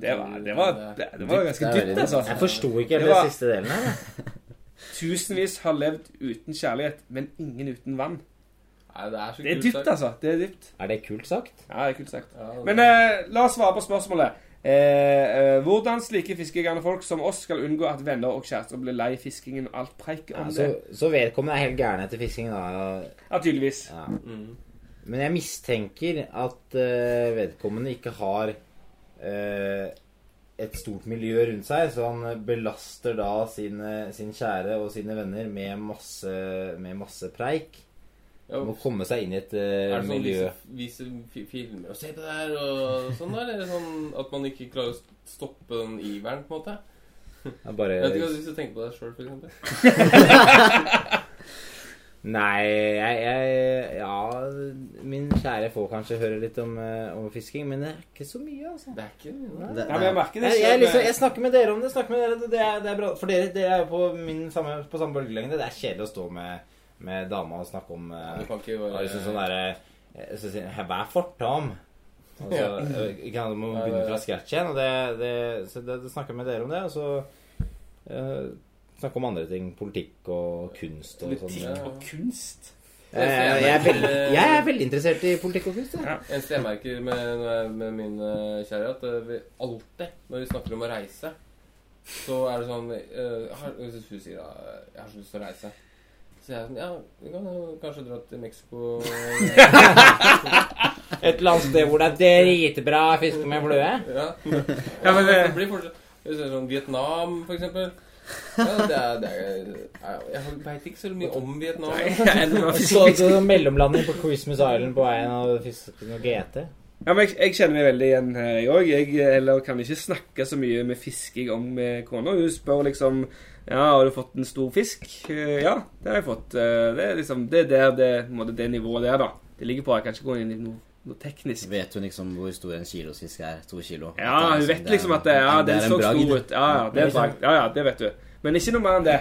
Det var, det var, det, det var ganske Det er veldig dypt, altså. Jeg forsto ikke Det helt var- den siste delen her. da. Tusenvis har levd uten kjærlighet, men ingen uten vann. Nei, det er så Det er kult dypt, sagt. altså. Det er dypt. Er det kult sagt? Ja, det er kult sagt. Ja, det- Men eh, la oss svare på spørsmålet. Eh, eh, hvordan slike fiskegærne folk som oss skal unngå at venner og kjærester blir lei fiskingen og alt preiket om Ja, så, det? Altså, så vedkommende er helt gæren etter fisking, da. Ja, tydeligvis. Ja. Mm. Men jeg mistenker at eh, vedkommende ikke har eh, et stort miljø rundt seg, så han belaster da sine, sin kjære og sine venner med masse, med masse preik. Ja, Må komme seg inn i et eh, er det sånn miljø. vise, vise fi- filmer og se på det her og sånn, da? Eller sånn at man ikke klarer å st- stoppe den iveren, på en måte? Ja, Bare Jeg vet ikke hva hvis du tenker på deg sjøl, for eksempel. Nei, jeg, jeg Ja, min kjære får kanskje høre litt om, eh, om fisking, men det er ikke så mye, altså. Det er ikke Nei. Det, Ja, men jeg det, merker det Jeg, jeg, selv. liksom, jeg snakker med dere om det. snakker med dere, det er, det er bra. For dere, dere er jo på, min samme, på samme bølgelengde. Det er kjedelig å stå med, med dama og snakke om Du eh, kan ikke ja, bare liksom sånn derre eh, Så sier hun 'Hva er fortam?' Og så Ja. eh, ikke sant, må man Ja, begynne det- fra scratch igjen. Og det, det, så det, det snakker jeg med dere om det. Og så eh, snakke om andre ting. Politikk og kunst og sånn. Ja. eh, Politikk og kunst. Eh, Jeg, er veldig, jeg er veldig interessert i politikk og kunst. Jeg. Eneste jeg merker med, når jeg- med min eh, kjære, er at eh, vi alltid, når vi snakker om å reise, så er det sånn eh, har- Hvis hun sier at jeg har så lyst til å reise, så er jeg sånn Ja, vi kan jo kanskje dra til Mexico Et eller annet sted hvor det er dritbra fiske med flue. Ja, Ja, men det- det blir fortsatt Hvis det er sånn Vietnam, for eksempel. Ja, det er, det er, jeg veit ikke så mye om Vietnam. Nei, jeg er enda mer Så fisk. du mellomlanding på Christmas Island på veien og fisket noe GT? Ja, men jeg, jeg kjenner meg veldig igjen her, jeg òg. Jeg eh, eller, kan ikke snakke så mye med fisking om med kona. Hun spør liksom Ja, har du fått en stor fisk? Eh, Ja, det har jeg fått. Eh, Det er liksom Det er der det, på en måte, det nivået der, da. Det ligger på Jeg kan ikke gå inn i noe, noe teknisk. Vet hun liksom hvor stor en kilosfisk er? To kilo? Ja, At det er hun liksom- vet det er- liksom at det, ja, det den er en så bragd. stor ut. Ja, ja, det er bragd. Ja, ja, det vet du. Men ikke noe mer enn det.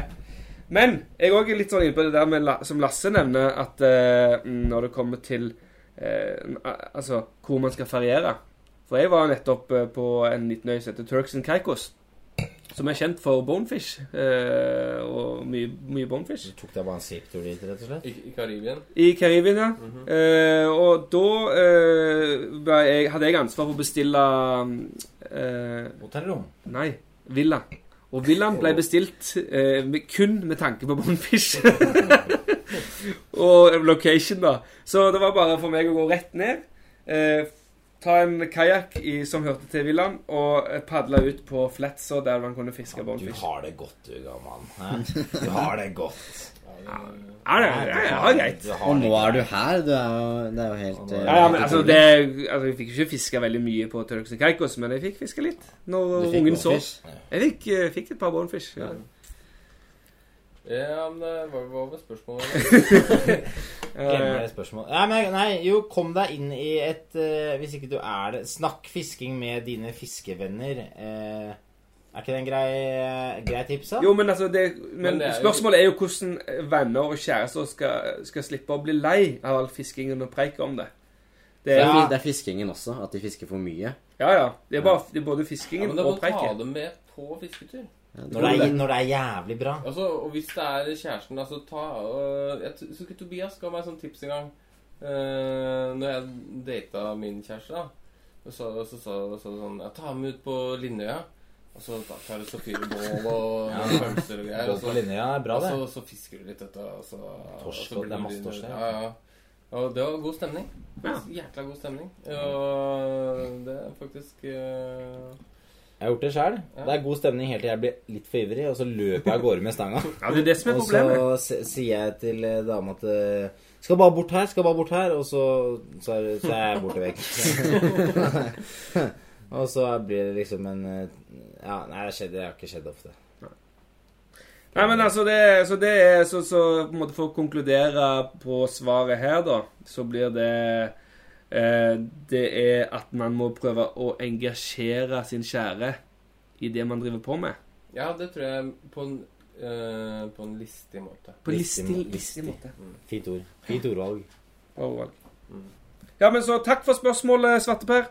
Men jeg er også litt sånn inne på det der med, La- som Lasse nevner, at eh, når det kommer til eh, Altså hvor man skal feriere. For jeg var nettopp eh, på en liten øy som heter Turks and Caicos. Som er kjent for bonefish. eh, og mye, mye bonefish. Du tok deg bare en siptur dit, rett og slett? I, i Karibien. I Karibien, ja. Mhm. Eh, og da eh, var jeg, hadde jeg ansvar for å bestille mm, eh, Hotellrom? Nei, Villa. Og villaen ble bestilt eh, med, kun med tanke på Bonfish. og location, da. Så det var bare for meg å gå rett ned, eh, ta en kajakk i- som hørte til villaen, og eh, padle ut på flatser der man kunne fiske Du Bonfish. har det godt, du, gammal. Hæ? Du har det godt. Ja, det er- ja, ja, greit. Du har Og det nå er greit. du her. Du er jo, det er jo helt eh, Ja, ja, men altså, det, altså, Jeg fikk jo ikke fiska veldig mye på Turks and Caicos, men jeg fikk fiska litt. Du Når fikk ungen sov. goldfish. Jeg fikk, eh, fikk et par Bonfish. Ja. eh, Ja, men det var hva var spørsmålet? Glemmer Eh, det spørsmålet. Nei, men, nei, jo, kom deg inn i et eh, Hvis ikke du er det Snakk fisking med dine fiskevenner. eh, er ikke det en grei, eh, grei tips, da? Jo, men altså det, men Men det er jo- Spørsmålet er jo hvordan venner og kjærester skal, skal slippe å bli lei av all fiskingen og preiket om det. Det Det er, er, ja. fi- det er fiskingen også. At de fisker for ja, mye. Det er, bare, det er både Ja, fiskingen men da må og du ta preiket. dem med på fisketur. Ja, det- Når det, er, når det er jævlig bra. Altså, og hvis det er kjæresten, altså ta øh, Jeg t- husker Tobias ga meg sånn tips en gang. Uh, når jeg data min kjæreste, da. Og så sa så, så, så, sånn Jeg tar med ut på Lindøya. Og så da tar du så fyrer bål og Ja. noen pølser og greier. Gå Og på så, linja er bra, og det. så, så fisker du litt, vet du. Og så, og Torsk, så og det er masse du- torsk der. Ja, ja. Og det var god stemning. Ja. Jækla god stemning. Og det er faktisk øh, Jeg har gjort det sjøl. Ja. Det er god stemning helt til jeg blir litt for ivrig, og så løper jeg av gårde med stanga. Ja, det er det som er Og så problemet. s- sier jeg til eh, dama at eh, skal bare bort her, skal bare bort her, og så, så, er, så er jeg borte vekk. og så blir det liksom en eh, Ja, nei, det, skjedde, det har ikke skjedd ofte. Nei, men altså, det, er- så det er så, så på en måte For å konkludere på svaret her, da, så blir det eh, Det er at man må prøve å engasjere sin kjære i det man driver på med. Ja, det tror jeg på en, øh, på en listig måte. På Listig listig, må- listig måte. Fint ord. Fint ordvalg. Overvalg. Ja, men så takk for spørsmålet, Svarteper.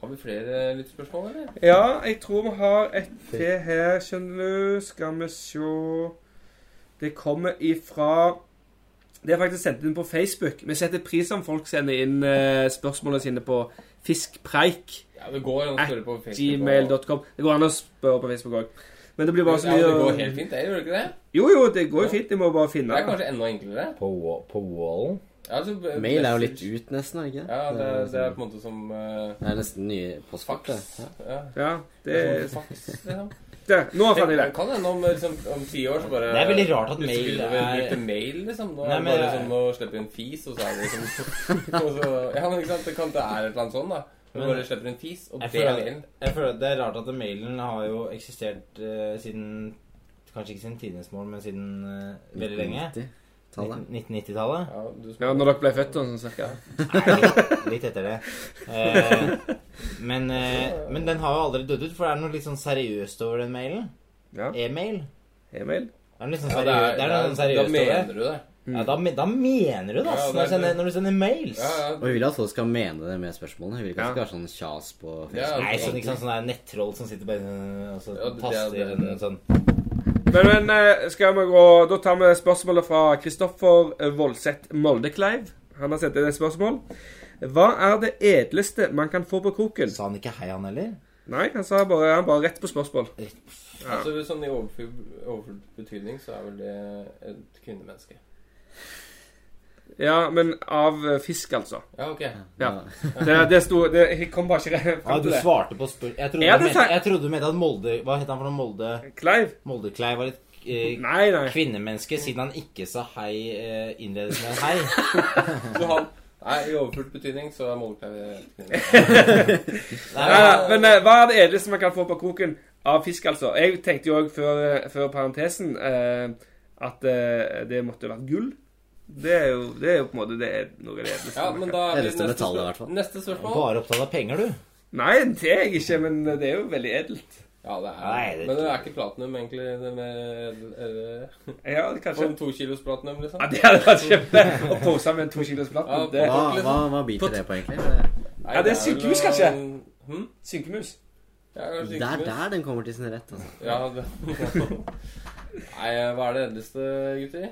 Har vi flere lyttspørsmål, eller? Ja, jeg tror vi har et til her, skjønner du. Skal vi se Det kommer ifra Det er faktisk sendt inn på Facebook. Vi setter pris om folk sender inn eh, spørsmålene sine på fiskpreik. Ja, det går an å spørre på Facebook. og- Gmail.com. Det går an å spørre på Facebook òg. Men det blir bare så Ja, det går mye helt fint, det gjør det ikke det? Jo, jo, det går jo fint. De må bare Det finne er kanskje enda enklere. På, wa- på wallen. Ja, altså, Mail er jo litt message- ut, nesten, er det ikke det? Ja, det, er- det er liksom- på en måte som eh, det er nesten nye postkort. fax. det. Ja. Ja, det er som fax, liksom. Der, nå fant jeg det. Det kan hende om, liksom, om ti år så bare Det er veldig rart at Plutselig mail vil vi er- bruke mail, liksom. Nå Nei, er det men- bare som å slippe en fis, og så er det liksom og så, Ja, men ikke sant? Det, kan, det er et eller annet sånn, da. Du Men- bare slipper en fis, og det Jeg er føler- mailen. Jeg føler at Det er rart at mailen har jo eksistert eh, siden Kanskje ikke siden tidenes mål, men siden eh, veldig lenge. 1990-tallet. 1990-tallet. Ja, du Ja, når dere ble født og sånn cirka. Nei, litt- litt etter det. Eh, men, eh, men den har jo aldri dødd ut, for det er noe litt sånn seriøst over den mailen. Ja. E-mail. E-mail. Det er noe litt sånn Ja, seriøst, det er, det er noe sånn da seriøst over mener det. du det. Ja, da, me- da mener du det, ass, Ja, det er når, du sender, det. når du sender mails. Ja, ja. Og vi vil at folk skal mene det med spørsmålene. Vi vil ikke at det skal være sånn kjas på Ja, Facebook. Nei, sånn, ikke sant, sånn der nettroll som sitter bare øh, og så Ja, det- taster det- en sånn Men, men eh, skal vi gå Da tar vi spørsmålet fra Kristoffer Voldseth Moldekleiv. Han har sendt inn et spørsmål. Hva er det edleste man kan få på kroken? Sa han ikke hei, han heller? Nei, han sa bare, han bare rett på spørsmål. Ja. Altså sånn I overfull, overfull betydning så er vel det et kvinnemenneske. Ja, men av eh, fisk, altså. Ja, ok. Ja. Det, det sto det, Jeg kom bare ikke rett Ja, fram du til det. svarte på spørsmål jeg, trodde Ja, du det sa- mente- jeg trodde du mente at Molde Hva het han for noe? Molde Kleiv? Moldekleiv var litt eh, Nei, nei. kvinnemenneske siden han ikke sa hei eh, innledes med hei. Så han, Nei, i overfullt betydning så er målekleier Nei, nei, men eh, hva er det edleste man kan få på koken av fisk, altså? Jeg tenkte jo òg før, før parentesen eh, at eh, det måtte vært gull. Det er jo, det er jo på en måte det er noe av det edleste. Ja, man men kan- da blir Eneste neste, metallet, i hvert fall. spørsmål. neste spørsmål. Bare opptatt av penger, du. Nei, det er jeg ikke, men det er jo veldig edelt. Ja, det er Nei, det Men det tror er jeg ikke platinum, egentlig. Det med, eller, Ja, det kanskje. sånn to kilos platinum, liksom. Ja, det hadde vært kjempe å pose med en to kilos platt. Ja, liksom. Det Hva, hva, hva biter det på, egentlig? Nei, Ja, det er vel sykehus, å- kanskje? Hm? synkemus. Ja, kanskje Det er sykehus. der den kommer til sin rett. altså. Ja, det. Nei, hva er det edleste, gutter?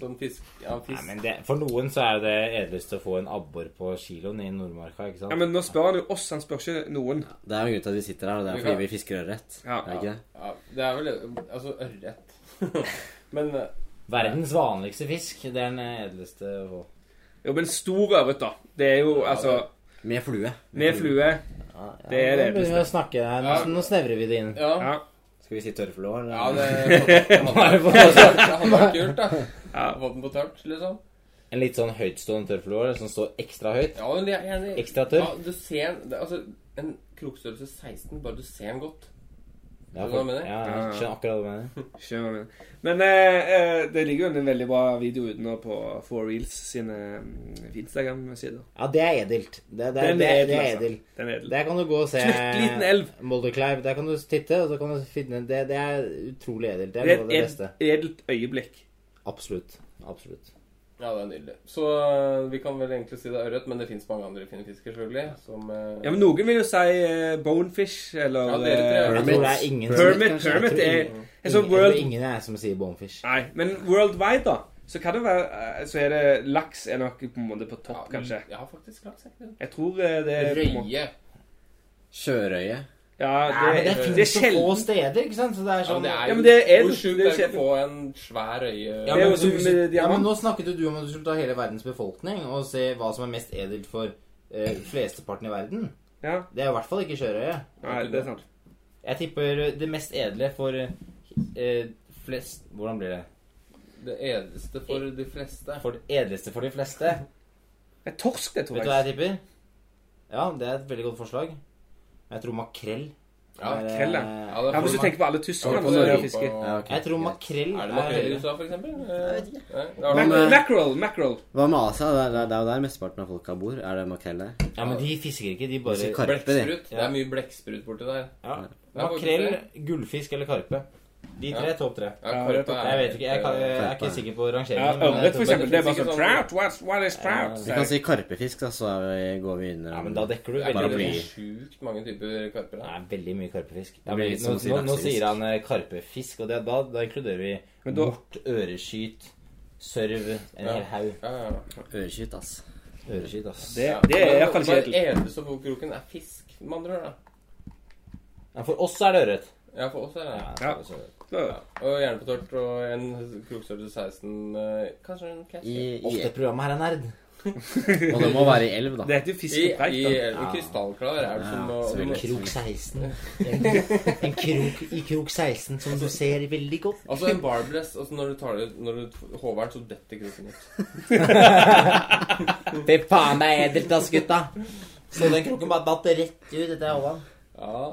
Sånn fisk Ja, Nei, fisk. men det, for noen så er det edleste å få en abbor på kiloen i Nordmarka, ikke sant? Ja, men nå spør han jo oss, han spør ikke noen. Det er jo en grunn til at vi sitter her, og det er fordi vi fisker ørret. Ja. Er det ikke det? Ja, det er vel Altså, ørret. men eh, Verdens vanligste fisk, det er den edleste å få. Jo, men stor ørret, da. Det er jo altså Med flue. Med flue. Det er nå det begynner vi å snakke her. Nå, Ja. nå snevrer vi det inn. ja. Ja. Skal vi si tørrflue, eller? Ja, det det hadde vært kult, da. Ja. Få den på tørt, liksom. En litt sånn høytstående tørrfluor som står ekstra høyt. Ja, men jeg er gjerne Ekstra tørr. Ja, du ser den det- Altså, en krokstørrelse 16, bare du ser den godt. Ja, Hva mener du? ja, jeg skjønner akkurat hva du mener. Skjønner hva jeg mener. Men eh, eh, det ligger jo en veldig bra video utenå på Four Reels sine mm, Instagram-sider. Ja, det er edelt. Det, det, Den er er- det, er- edel, det er altså. edel. Den er edel. Der kan du gå og se Knøttliten elv. Molderkleiv. Der kan du titte, og så kan du finne Det, det er utrolig edelt. Det Det er noe av er det et beste. ed- edelt øyeblikk. Absolutt. Absolutt. Ja, det er nydelig. Så øh, vi kan vel egentlig si det er ørret, men det fins mange andre fine fisker, selvfølgelig. Som øh, Ja, men Noen vil jo si eh, bonefish eller Ja, dere tre. eh, Jeg tror det er ingen Hermit. kanskje- Hermit jeg tror er en sånn ingen- ingen- jeg tror world Ingen er som sier bonefish. Nei, men worldwide, da. Så kan det være eh, Så er det laks er nok på en måte på ja, topp, kanskje. Ja, faktisk laks. er ikke det? Jeg tror eh, det er på en måte- Røye. Sjørøye. Ja, Nei, men det, det det, finnes er så få sjelden. steder, ikke sant? Så det er Ja, men sånn det er Ja, jo men det er edelt. Hvor sjukt Det er det er å kjedelig. få en svær røye Ja, Det er men, jo du, som med ja, men diamant. nå snakket jo du om at du skulle ta hele verdens befolkning og se hva som er mest edelt for eh, flesteparten i verden. Ja, Det er i hvert fall ikke sjørøye. nei, det er sant. Jeg tipper det mest edle for eh, flest Hvordan blir det? Det edleste for de fleste. For det edleste for de fleste. Det er torsk, det, tror Vet du hva jeg. jeg tipper? Ja, det er et veldig godt forslag. Men Jeg tror makrell. Ja, er, eh, makrell, ja. Ja, det Ja, Hvis du for- tenker på alle Ja, tyskerne for som er Europa. fisker. Ja, ok. Jeg tror makrell Er det makrell i er USA, for eksempel? Jeg vet ikke. Men- eh, Mac- Mackerel. Mackerel. Hva med Asia? Det er, det er jo der mesteparten av folka bor. Er det makrell der? Ja, men de fisker ikke, de Fisker bare karpe, de. Blekksprut. Det Ja. er mye blekksprut borti der. ja. Ja, faktisk Makrell, det. gullfisk eller karpe. De tre, Ja. topp tre. Ja, Ja, karpe det er er Jeg vet ikke, jeg, kan, jeg er ikke sikker på Ja, rangeringen. men jeg Ørret, tror- for eksempel. Det er bare Men det sånn finnes ikke Trout, what's, what is trout? Vi kan si karpefisk, da, så er vi, går vi Ja, men under. da dekker du Det eh, er veldig ikke mye. det sjukt mange typer karper Det der. er veldig mye karpefisk. Det blir men litt nå, som å si nå, nå laksefisk. sier han eh, karpefisk, og det, da, da inkluderer vi Men da- mort, øreskyt, sørv, en Ja. hel haug. Ja, ja, ja. Øreskyt, ass. Øreskyt, ass. Det, Ja. det er Men iallfall bare kjedelig. eneste på kroken er fisk, med andre ord. da. Ja, for oss er det ørret. Ja, for oss er det Ja, Ja. så- så- ja. Og gjerne på tørt og en krokstørrelse 16 eh, Kanskje en catch? I, I, i, Ofte programmet her er nerd. og det må være i elv, Det da. heter jo fisk i, og preik, i da. en krystallklar er det som Ja, å- selvfølgelig. du må- Krok 16. En, en krok i krok 16 som du ser veldig godt. Altså en barbless altså Når du tar det Når du håver den, så detter kroken ut. Fy faen, det er edelt, ass, gutta. Så den kroken bare datt rett ut etter Holland. Ja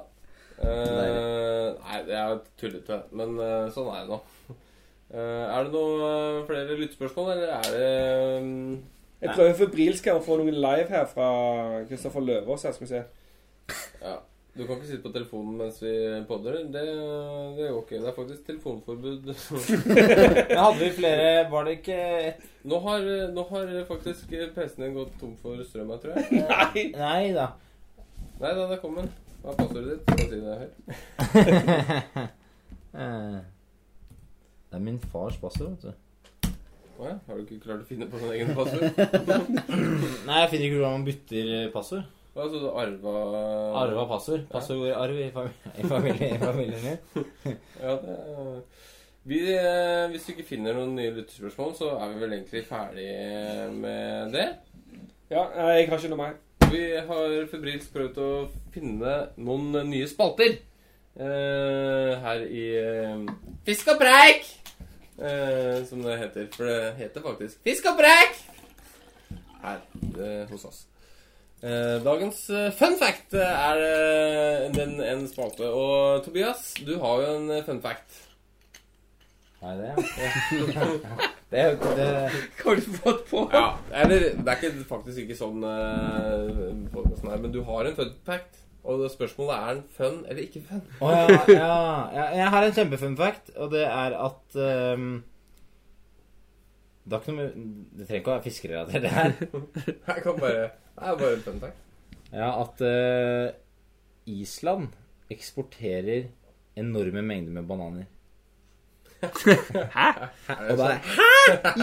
Eh, Nei, det er jo tullete, men eh, sånn er det nå. Eh, er det noe eh, flere lyttespørsmål, eller er det mm, Jeg prøver febrilsk her å få noen live her fra Kristoffer Løvaas her, skal vi se. Ja. Du kan ikke sitte på telefonen mens vi podder. Det, det går ikke. Det er faktisk telefonforbud. Men hadde vi flere Var det ikke et nå, har, nå har faktisk PC-en din gått tom for strøm her, tror jeg. Nei! Nei da. Nei da, der kom den. Hva er passordet ditt? Skal jeg si det høyt? Eh, Det er min fars passord, vet du. Å ja. Har du ikke klart å finne på din egen passord? Nei, jeg finner ikke hvordan man bytter eh, passord. Hva så du arva Arva passord. Passord går i arv i, fami i, familie, i familien min. Ja, det er- vi, eh, Hvis du ikke finner noen nye lytterspørsmål, så er vi vel egentlig ferdig med det. Ja, nei, jeg har ikke noe mer. Vi har febrilsk prøvd å finne noen nye spalter eh, her i eh, Fisk og preik! Eh, som det heter. For det heter faktisk Fisk og preik! Her. eh, hos oss. Eh, dagens eh, fun fact eh, er eh, den, en spalte. Og Tobias, du har jo en eh, fun fact. Nei, det Det er jo ikke det Har du fått på? Ja, eller Det er ikke, faktisk ikke sånn eh, podcasten her, men du har en fun fact. Og det spørsmålet er er den fun eller ikke fun. Å ja, ja, ja. Jeg har en kjempefun fact, og det er at ehm, Det er ikke noe med- Det trenger ikke å være fiskerelatert, det her. Jeg kan bare, det er bare en fun fact. Ja, at eh, Island eksporterer enorme mengder med bananer. Er det Og bare sant? Hæ?!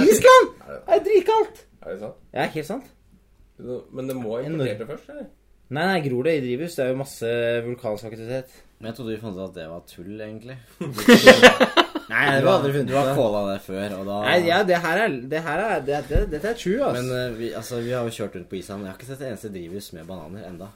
Island! Det er dritkaldt! Er det sant? Ja, helt sant. Men det må importere det først, eller? Nei, nei, gror det i drivhus. Det er jo masse vulkansk aktivitet. Men jeg trodde vi fant ut at det var tull, egentlig. Nei, Du har, du har kåla det før, og da Nei, ja, det her er Det her er det, det, Dette er true, ass. Men eh, vi, altså, vi har jo kjørt rundt på Island. men Jeg har ikke sett et eneste drivhus med bananer enda.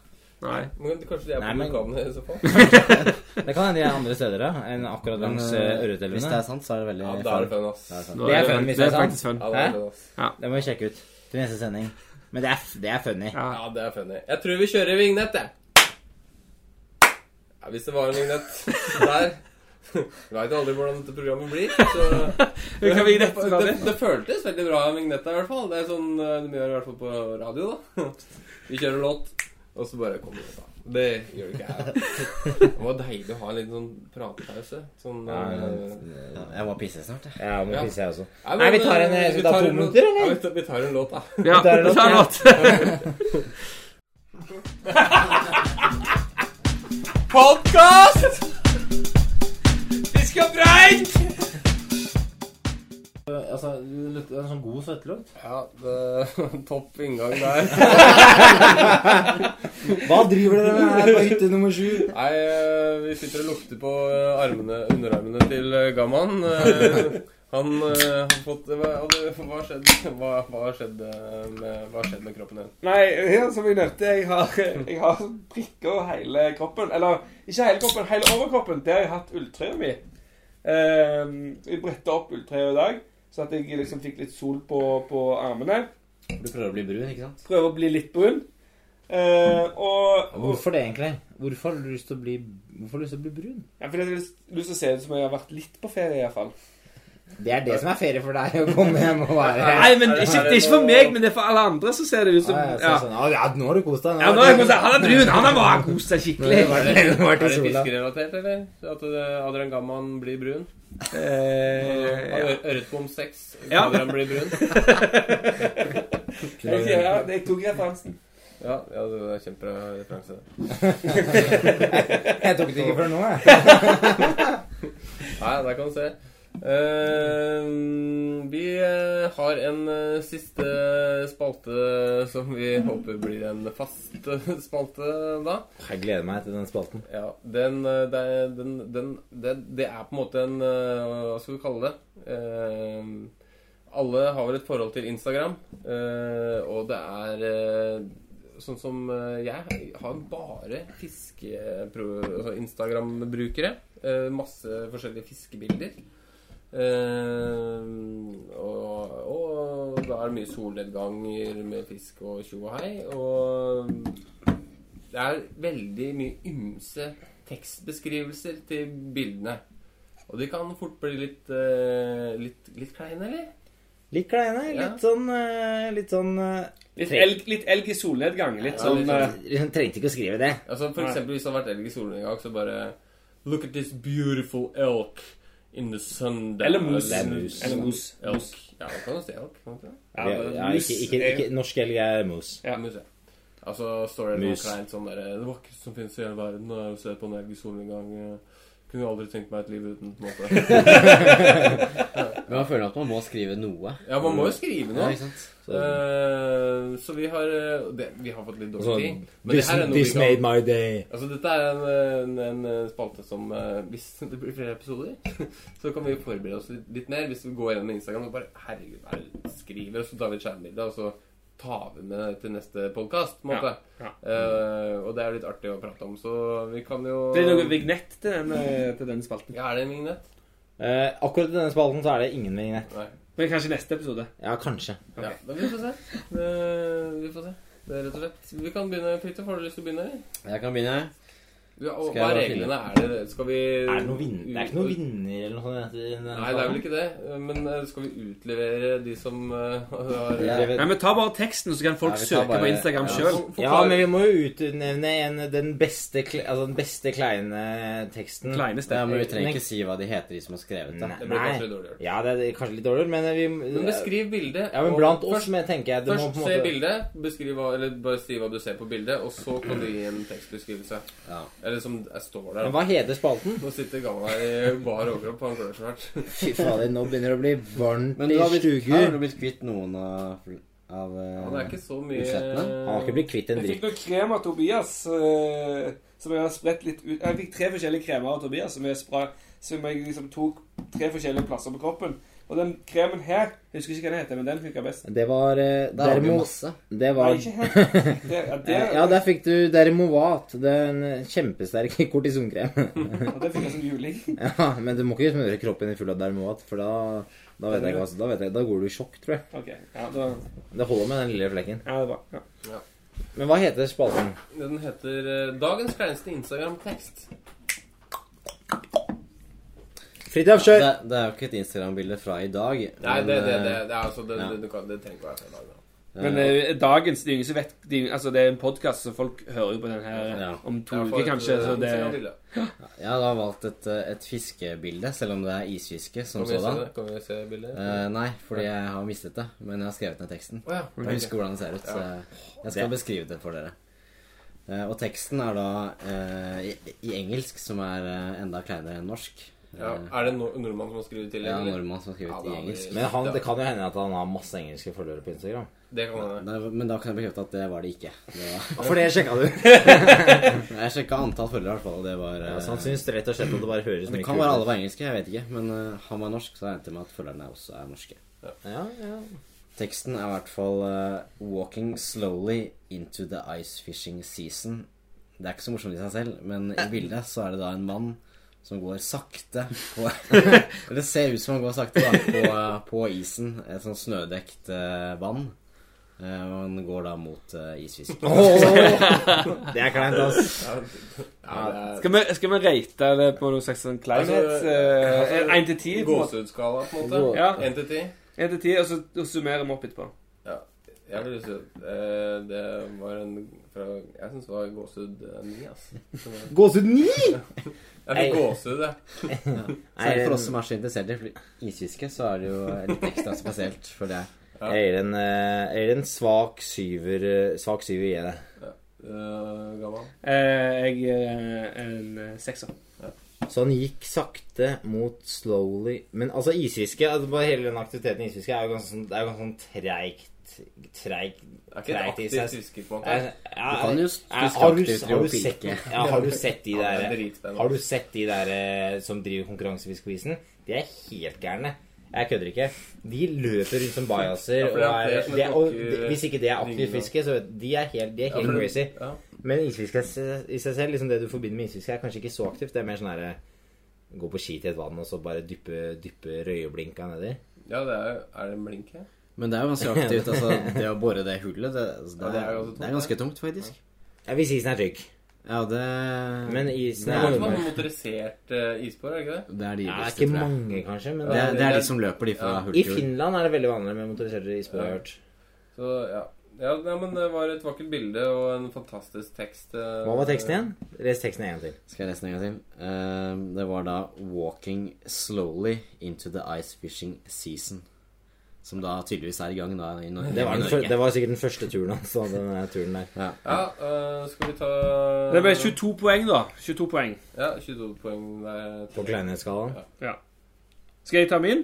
Nei. Men kanskje de er Nei, på men- vulkanene i så fall? det kan hende de er andre steder da, enn Men akkurat langs eh, eh, hvis det Ørretelvene. er sant, så er det veldig Ja, da er det fun. fun, ass. Det er fun. Nå Det er det- fun, det hvis det er er faktisk fun. Ja, det Hæ? er fun, ass. Det må vi sjekke ut til neste sending. Men det er, f- det er funny. Ja. Ja, det er funny. Jeg tror vi kjører vignett, jeg. Ja, hvis det var en vignett der Du veit aldri hvordan dette programmet blir. Så Vi kan vignette det, da, det, det. det føltes veldig bra med vignetta, i hvert fall. Det er sånn eh, de gjør i hvert fall på radio, da. Vi kjører låt, og så bare kommer det. da. Det gjør det ikke her. Det var deilig å ha en liten sånn pratepause. Sånn eh, Ja, jeg må pisse snart, jeg. Ja, må Ja. pisse jeg også. ja, men, Nei, vi tar eh, en- skal vi ta to en- minutter, eller? Ja, vi tar, vi tar en låt, da. Ja, Der er det ta en låt. låt, Podkast! Vi skal breit! Altså, det lukter en sånn god svettelukt. Ja, det, topp inngang der. Hva driver dere med her på hytte nummer sju? Nei, eh, vi sitter og lukter på eh, armene, underarmene til eh, Gamman. Eh, Han eh, har fått Hva har skjedd Hva har skjedd eh, med, hva har skjedd med kroppen din? Nei, ja, som jeg nevnte, jeg har, jeg har prikker hele kroppen. Eller ikke hele kroppen, hele overkroppen. Der har jeg hatt ulltrøya mi. Um, jeg bretta opp ulltrøya i dag, så at jeg liksom fikk litt sol på, på armene. Du prøver å bli brun, ikke sant? Prøver å bli litt brun. Eh, og, og Hvorfor det, egentlig? Hvorfor har du lyst til å bli, hvorfor har du lyst til å bli brun? ja, fordi Jeg har lyst til å se ut som jeg har vært litt på ferie, iallfall. Det er det som er ferie for deg, å komme hjem og være Nei, men ikke, det er ikke for meg, men det er for alle andre som ser det ut som Ja, ja, Ja, sånn, ja, ja, nå har du kost deg. ja nå er jeg, han er brun! Han har bare kost seg skikkelig. Nå har du vært- Er nå har du vært det i sola. fiskerelatert, eller? At eh, Adrian Gamman blir brun? Eh, ja. Ør- Ørretbom 6. Ja. Adrian blir brun. Ok, ja, jeg tok referansen. Ja, ja det er kjempebra referanse. Jeg tok det ikke før nå, jeg. Nei, der kan du se. Eh, vi eh, har en eh, siste spalte som vi håper blir en fast eh, spalte da. Jeg gleder meg til den spalten. Ja, den, eh, det, er- den, den, det, det er på en måte en eh, Hva skal vi kalle det? Eh, alle har vel et forhold til Instagram, eh, og det er eh, sånn som eh, Jeg har bare fiske... Altså Instagram-brukere. Eh, masse forskjellige fiskebilder. Eh, og, og da er det mye solnedganger med fisk og tjo og hei. Og det er veldig mye ymse tekstbeskrivelser til bildene. Og de kan fort bli litt, eh, litt, litt kleine, eller? Litt kleine, litt sånn eh, Litt sånn eh, Litt elg, litt elg i solnedgang. Litt Ja, sånn litt eh, Hun trengte ikke å skrive det. Altså for Nei. eksempel hvis det har vært elg i solnedgang, så bare Look at this beautiful elk in the sun down." Eller mus. Eller mus. Eller mus. Elk. Ja, man kan jo se elk. kan man ikke det? Ja, Ja, men ja, mus ikke, ikke, er- ikke, norsk elg er mos. Ja. Mus, ja. Altså står det noe Mus. kleint sånn derre Det vakreste som finnes i hele verden, er å se på en elg i solnedgang. eh, Kunne jo aldri tenkt meg et liv uten, på en måte. Men man føler at man må skrive noe. Ja, man må jo skrive Ja, noe. ikke sant? Eh, så vi har eh, det, Vi har fått litt dårlig Sånn, tid. Men This, det her er noe vi this made kan my day. Altså Dette er en, eh, en, en eh, spalte som eh, Hvis det blir flere episoder, så kan vi forberede oss litt, litt mer. Hvis vi går gjennom Instagram og bare Herregud, hva er det vi skriver? Og så tar vi et skjermbilde, og så tar vi med det til neste podkast. Ja, ja. Eh, og det er litt artig å prate om, så vi kan jo Det er noe vignett til den, eh, til den spalten. Ja, er det en vignett? Eh, akkurat i denne spalten så er det ingen vignett. Nei. Men kanskje neste episode. Ja, kanskje. Ja, da vi får se. Det, vi får se. Det er rett og slett. Vi kan begynne, Peter. Får du lyst til å begynne? eller? Jeg kan begynne. Ja, og Skal jeg hva er bare reglene? Er det, skal vi Er det noen vinner? Det er ikke noen vinner eller noe sånt? i denne Eh, Nei, det er vel saken? ikke det. Men eh, skal vi utlevere de som eh, har Ja. Nei, men Ta bare teksten, så kan folk Ja, vi tar søke bare- på Instagram ja. selv. For- Ja, forklar- men vi må jo utnevne en, den, beste, kle- altså den beste kleine teksten. Kleine Ja, stemmer. men Vi trenger ikke si hva de heter, de som har skrevet det. Det blir kanskje Nei. litt dårligere. Ja, det er kanskje litt dårligere, men vi Men beskriv bildet. Ja, men og blant oss først, men tenker jeg det må først på en se måte... bildet, beskriv hva, eller bare si hva du ser på bildet, og så kan du gi en tekstbeskrivelse. Ja. Eller som jeg står Men der. hva heter spalten? Nå sitter Gamma i bar overkropp, han klør så fælt. Fy fader, nå begynner det å bli varmt Men du har blitt, ja, du har blitt kvitt noen av, av eh, Han er ikke så mye Budsjettene? Han har ikke blitt kvitt en Jeg fikk dritt. noe krem av Tobias eh, som jeg har spredt litt ut Jeg fikk tre forskjellige kremer av Tobias som jeg, spra, som jeg liksom tok tre forskjellige plasser på kroppen. Og den kremen her Jeg husker ikke hva den heter, men den funka best. Det var eh, Der har vi jo Dermo... masse. Nei, Det var ikke helt. Det, ja, det, Ja, der fikk du Dermovat. Det er en kjempesterk kortisonkrem. og det funka som juling. Ja, men du må ikke smøre kroppen din full av Dermovat, for da da vet jeg ikke, altså. Da, vet jeg, da går du i sjokk, tror jeg. Ok, ja, da, Det holder med den lille flekken. ja, det er bra. Ja. Men hva heter spalten? Den heter eh, 'Dagens kleineste Instagram-tekst'. Det, Fridtjof, kjør! det er jo ikke et Instagram-bilde fra i dag. Nei, men, det, det, det, eh, det er altså Det, ja. det, du kan, det trenger ikke være fra i dag. da. Men eh, dagens Det er ingen som vet det er ingen- Altså, det er en podkast, så folk hører jo på den her eh, Ja. om to Ja, for uker, et, kanskje. eh, Så det Instagram-bilde. Jeg har da valgt et, eh, et fiskebilde, selv om det er isfiske som Kan vi se sådan. det? Kan vi se bildet? Eh, nei, fordi jeg har mistet det, men jeg har skrevet ned teksten. Å ja. Jeg husker hvordan det ser ut, så jeg- jeg skal beskrive det for dere. Eh, og teksten er da eh, i, i engelsk, som er eh, enda kleinere enn norsk. Eh, ja. Er det en nor- nordmann som har skrevet til? ja, eller? nordmann som har skrevet Ja, i det er engelsk. det. Men han, det kan jo hende at han har masse engelske følgere på Instagram. Det kan hende. Nei, men da kan jeg bekrefte at det var det ikke. Det var, For det sjekka du? jeg sjekka antall følgere, i hvert fall, og det var eh, Så han syns rett og slett at det bare høres Det mye kan kult være alle ut. var engelske, jeg vet ikke. Men eh, han var norsk, så jeg regnet med at følgerne også er norske. Ja, ja. Teksten er i hvert fall eh, 'Walking slowly into the ice fishing season'. Det er ikke så morsomt i seg selv, men i bildet så er det da en mann som går sakte på Eller det ser ut som han går sakte da, på, eh, på isen. Et sånn snødekt eh, vann. Eh, og han går da mot uh, isfisken. Det er kleint, ass. Ja, det skal vi, skal vi rate det på noe slags sånn kleinhet? Altså, eh, altså, Én til ti? er på en måte. Gåsehudskala, på en måte. Ja, Én til ti. en til ti, og så og summerer vi opp etterpå. Jeg vil si at eh, det var en fra, Jeg syns det var gåsehud eh, ni, ass. Så det- Gåsehud 9! Jeg fikk Nei. gåsehud, jeg. Særlig for oss som er så interessert i fl- isfiske, så er det jo litt ekstra spesielt, føler jeg. Ja. Jeg gir en, eh, jeg gir en svak syver eh, Svak syver gir jeg det. Eh, Gammal. Eh, jeg gir eh, en eh, sekser. Så han gikk sakte mot slowly Men altså, isfiske altså, bare Hele den aktiviteten i isfiske er jo ganske sånn, det er jo ganske sånn treigt Treigt Er ikke et Treigt i seg. aktivt fisker, på en måte. Jeg- jeg- Du kan jo jeg- fiske har du- aktivt har du og pike. sett- Ja, har du sett de Ja, det er der dritspennende. Har du sett de der eh, som driver konkurransefisk på isen? De er helt gærne. Jeg kødder ikke. De løper rundt som bajaser. Ja, for det er og er, flere som det er, og plukker de, hvis ikke det er dingene. aktivt fiske, så vet- de er helt, de er Ja, helt for- crazy. Ja. Men isfiske er- i seg selv, liksom det du forbinder med isfiske, er kanskje ikke så aktivt. Det er mer sånn herre Gå på ski til et vann og så bare dyppe, dyppe røyeblinka nedi. ja, det er jo Er det en blink her? Men det er jo ganske aktivt. altså Det å bore det hullet, det, altså, Ja, det, det er er, ganske tungt, det er ganske tungt, faktisk. Ja, hvis isen er trygg. Ja, det Men isen Det er er jo Nei, som varmere. en motorisert eh, isbår, er det ikke det? Det er de Ja, ivrigste, ikke tror jeg. mange, kanskje, men Det det er, er det er de som løper de fra Ja. hull I til hull. Finland er det veldig vanlig med motoriserte isbåter, har jeg hørt. Så ja. Ja, nei, men Det var et vakkert bilde og en fantastisk tekst. eh, Hva var teksten igjen? Les teksten en gang til. Skal jeg lese den en gang til? Ehm, det var da 'Walking slowly into the ice fishing season'. Som da tydeligvis er i gang da i, Nor Det var, i den, Norge. fyr- det var sikkert den første turen hans. da, Den der turen der. Ja. Ja, eh, skal vi ta Det ble 22 poeng, da. 22 poeng. Ja, 22 poeng der. På kleinhetsskalaen. Skal jeg ta min?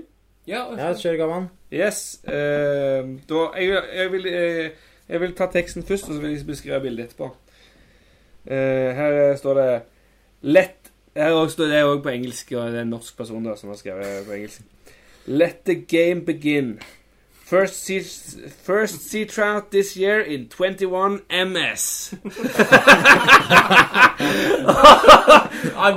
Ja, Ja, kjør, gammal. Yes. eh, da, jeg, jeg, vil, eh, jeg vil ta teksten først, og så vil jeg beskrive bildet etterpå. Eh, her står det Let her også står Det er også på engelsk, og det er en norsk person da, som har skrevet på engelsk. Let the game begin. First sea, first sea trout this year in 21 MS. Og,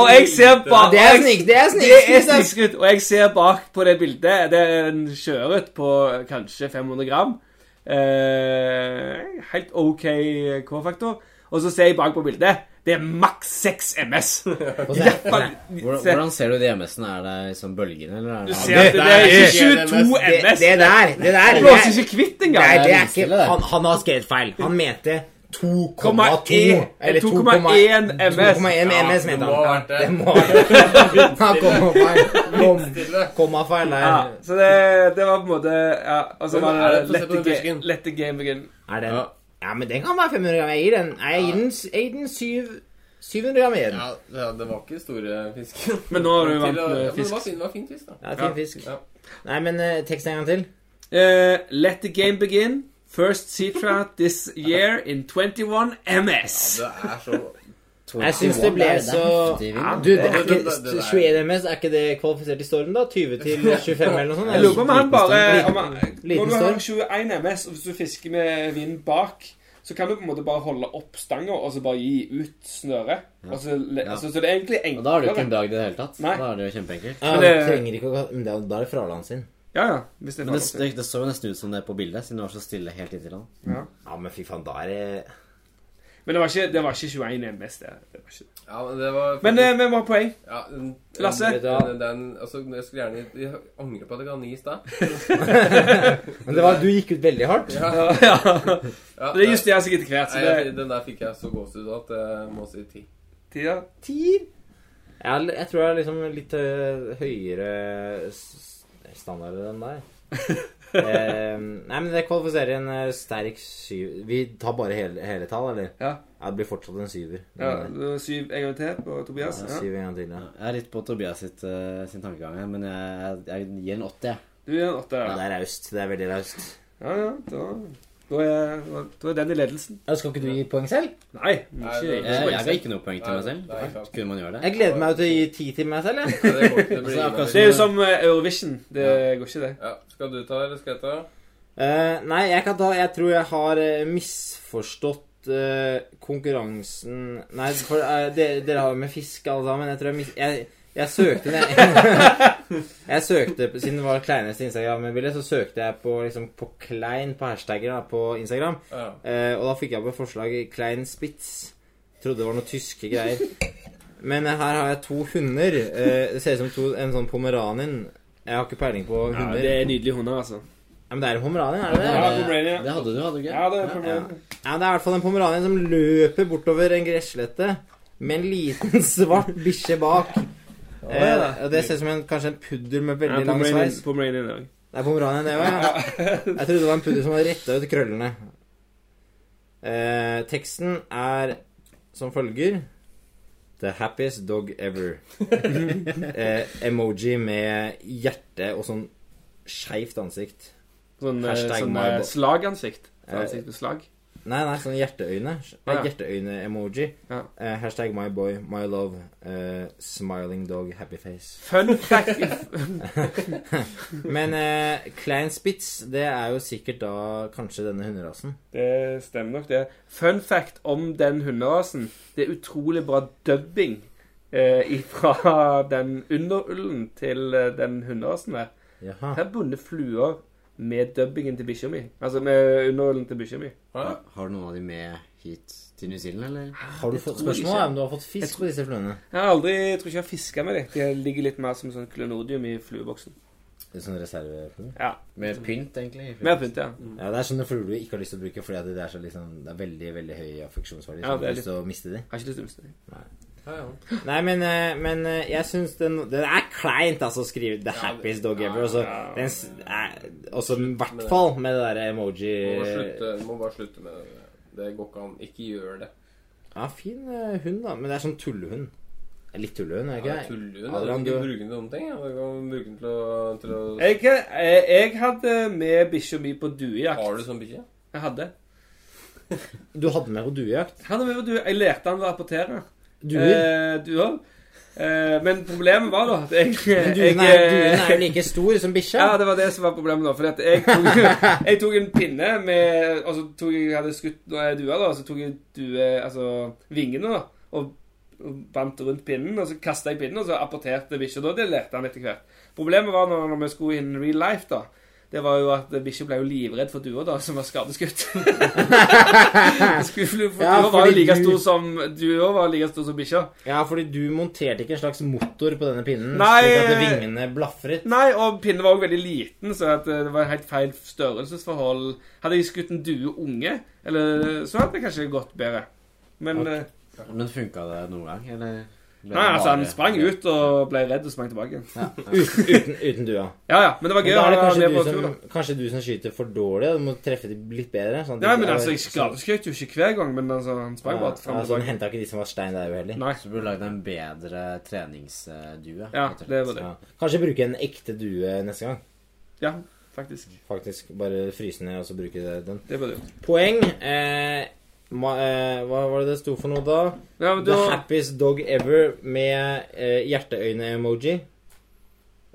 Og jeg ser bare Det er snik, det er snik, Det er snikskryt. Og jeg ser bak på det bildet Det er en sjøørret på kanskje 500 gram. Eh, helt OK K-faktor. Og så ser jeg bak på bildet. Det er maks 6 MS. Og I så- hvert fall- Hvordan, se- hvordan ser du de MS-ene? Er det liksom bølgene, eller er Du det ser at det er ikke 22 Det, MS. det der, det der Du det er- blåser ikke kvitt Nei, engang. det er vindstille, ikke det. Han, han har skrevet feil. Han mente 2,2 eller 2,1 MS. 2,1 det MS, mente må ha han. vært det. Det må ha vært det. Han kom med feil. Stille. Komma feil der. Ja, så det, det var på en måte ja, Og så Men var er det det- få se på den lette, fisken. lette game again. Er den Ja. Ja, men den kan være 500 gram. Jeg gir den Nei, jeg gir den, jeg gir den syv, 700 gram i den. Ja, ja, det var ikke store fisken. Men nå har du Til vant å- med ja, men fisk. Det var fin, det var fin fisk, da. Ja, fin fisk. Ja. Nei, men eh, tekst en gang til. Eh, let the game begin. First Citra this year in 21 MS. Det er så Jeg syns det ble så Ja, Du, det det- er det- ikke det- det- 21 MS, er ikke det kvalifisert i storm, da? 20 til 25 eller noe sånt? Jeg lurer på om han bare om han, Når Liten du har storm. 21 MS, og hvis du fisker med vind bak, så kan du på en måte bare holde opp stanga og så bare gi ut snøret. Og så, le- Ja. altså, så det er egentlig Og da har du ikke enklere. en dag i det hele tatt. Nei. Da er det jo kjempeenkelt. Ja, Men du det- trenger ikke å ka- Men det er- Da er det Fraland sin. Ja, ja. Hvis det er Men det, farlig. det, det så jo nesten ut som det på bildet, siden det var så stille helt inntil han. Ja, men fy faen, da er det Men det var ikke, det var ikke 21 MS. Det, det var ikke. Ja, men det var Men eh, vi må ha poeng. ja, den- Lasse? den- Den, den, altså, jeg skulle gjerne Jeg angrer på at jeg ga ni i stad. Men det var, du gikk ut veldig hardt. Ja. Ja, Det justerer seg etter hvert. Nei, Så jeg, det den der fikk jeg så gåsehud av at eh, jeg må si ti. Tida. Tier. Jeg, jeg tror jeg er liksom litt øh, høyere s- standard enn deg. eh, nei, men det kvalifiserer en eh, sterk syv... Vi tar bare hele, hele tall, eller? Ja. Det blir fortsatt en syver. Ja, det var syv en gang til på Tobias. Ja. Syv en gang til, ja. Jeg er litt på Tobias sitt, eh, sin tankegang her, men jeg, jeg gir en 80, jeg. Du er en åtte. Ja, Ja, det er raust. Det er veldig raust. ja. ja da, da, er, da er den i ledelsen. Skal ikke du gi poeng selv? Nei. Nei, ikke det- ikke Jeg, poeng jeg selv. ga ikke noe poeng til meg Nei, selv. nei, klart. Kunne man gjøre det? Jeg gleder meg jo til å gi ti til meg selv, Nei, jeg. det går ikke, det blir Altså, akkurat ingen av Det de. er jo som eh, Eurovision. Det Ja. går ikke, det. ja, Skal du ta, eller skal jeg ta? Eh, nei, jeg kan ta Jeg tror jeg har eh, misforstått eh, konkurransen Nei, for eh, dere, dere har jo med fisk, alle sammen. Jeg tror jeg mis... Jeg, jeg søkte ned Jeg søkte, på- Siden det var kleineste Instagram-bilde, så søkte jeg på, liksom, på klein på hashtagger da, på Instagram. Ja. Eh, og da fikk jeg opp et forslag Klein Spitz. Trodde det var noen tyske greier. Men eh, her har jeg to hunder. Eh, det ser ut som to, en sånn pomeranin. Jeg har ikke peiling på Ja, hunder. det er nydelige hunder, altså. Ja, men det er en pomeranin, er det det? Ja, Pomerania. Det hadde du, hadde du ikke? Ja, det er Ja. Pomerania. Ja, det er i hvert fall en pomeranin som løper bortover en gresslette med en liten svart bikkje bak. Eh, og det ser ut som en, kanskje en pudder med Ja, veldig lang Pomeranian- sveis. Pomeranian i dag. Det er pomeranin, det òg, ja. Jeg trodde det var en pudder som var retta ut krøllene. Eh, teksten er som følger The happiest dog ever. eh, emoji med hjerte og sånn skeivt ansikt. Sånn, eh, Hashtag sånn my eh, bo- slagansikt. Så Eh, Ansikt med slag. Nei, nei, sånn hjerteøyne. Nei, Ja. Hjerteøyne-emoji. Ja. Eh, hashtag my boy, my love, eh, smiling dog, happy face. Fun fact Men eh, Klein Spitz, det er jo sikkert da kanskje denne hunderasen. Det stemmer nok, det. Fun fact om den hunderasen. Det er utrolig bra dubbing eh, fra den underullen til eh, den hunderasen der. Jaha. Jeg har bundet fluer med dubbingen til bikkja mi. Altså med underullen til bikkja mi. Ja. Har du noen av de med hit til New Zealand, eller? Har du fått tror spørsmål ikke. er om du har fått fisk på disse fluene? Jeg har aldri, jeg tror ikke jeg har fiska med dem. De ligger litt mer som sånn klenodium i flueboksen. Sånne sånn reservefluer? Ja. Med pynt, egentlig? Mer pynt, ja. Ja, det er sånne fluer du ikke har lyst til å bruke fordi at det er, så liksom, det er veldig veldig høy affeksjonsverdi. Ja, Så du det er har lyst til å miste de. Jeg har ikke lyst til å miste dem. Ja, ja. Nei, men, eh, men eh, jeg syns den Det er kleint, altså, å skrive 'The happiest dog ever'. Og så ja. den s- er- og så i hvert fall med det derre emoji Du må, slutte, du må bare slutte med det. Det går ikke an. Ikke gjør det. Ja, fin eh, hund, da. Men det er sånn tullehund. Det er Litt tullehund, er det Ja, ikke? det? Tuller du? Du kan Adrian, ikke du- bruke den til noen ting. ja. Du kan bruke den til å, til å Jeg, jeg, jeg hadde med bikkja mi på Har duejakt. du sånn bikkje? Jeg hadde. Du hadde med på duejakt. Jeg hadde med på due. Jeg lærte han å rapportere. Duer. Eh, duer. Eh, men problemet var da at jeg, Men jeg duen er, eh, duen er jo like stor som bikkja. Ja, det var det som var problemet da. Fordi at jeg tok, jeg tok en pinne med Og så tok jeg, hadde skutt noen duer, da. Og så tok jeg due, altså vingene, da. Og bandt rundt pinnen, og så kasta jeg pinnen, og så apporterte bikkja. Da delerte han etter hvert. Problemet var når, når vi skulle in real life, da. Det var jo at bikkja ble jo livredd for dua, da, som var skadeskutt. Skulle fly- for Ja, dua var jo fordi like du- stor som Dua var like stor som bikkja. Ja, fordi du monterte ikke en slags motor på denne pinnen, Nei, slik at eh, vingene blafret. Nei, og pinnen var også veldig liten, så at eh, det var helt feil størrelsesforhold. Hadde jeg skutt en due unge, eller, så hadde det kanskje gått bedre. Men eh, Men funka det noen gang, eller? ble Nei, det altså, han bare- sprang ut og ble redd og sprang tilbake. Uten, uten, uten dua. Ja, ja, men det var Men gøy. da er han det var kanskje med du, på tur, da. som, kanskje du som skyter for dårlig. Du må treffe de litt bedre. Sånn at Ja, de men ikke er- altså, jeg skadeskjøt jo ikke hver gang, men altså, han sprang bare Ja, fram og altså, den tilbake. henta ikke de som var stein der jo heller. Nei. Så burde du lagd en bedre treningsdue. Ja, rett og slett. det var det. Ja. Kanskje bruke en ekte due neste gang. Ja, faktisk. Faktisk bare fryse ned og så bruke det- den. Det var det. Poeng eh, ma, eh, Hva var det det sto for noe da? Ja, men The da happiest dog ever med eh, hjerteøyne-emoji.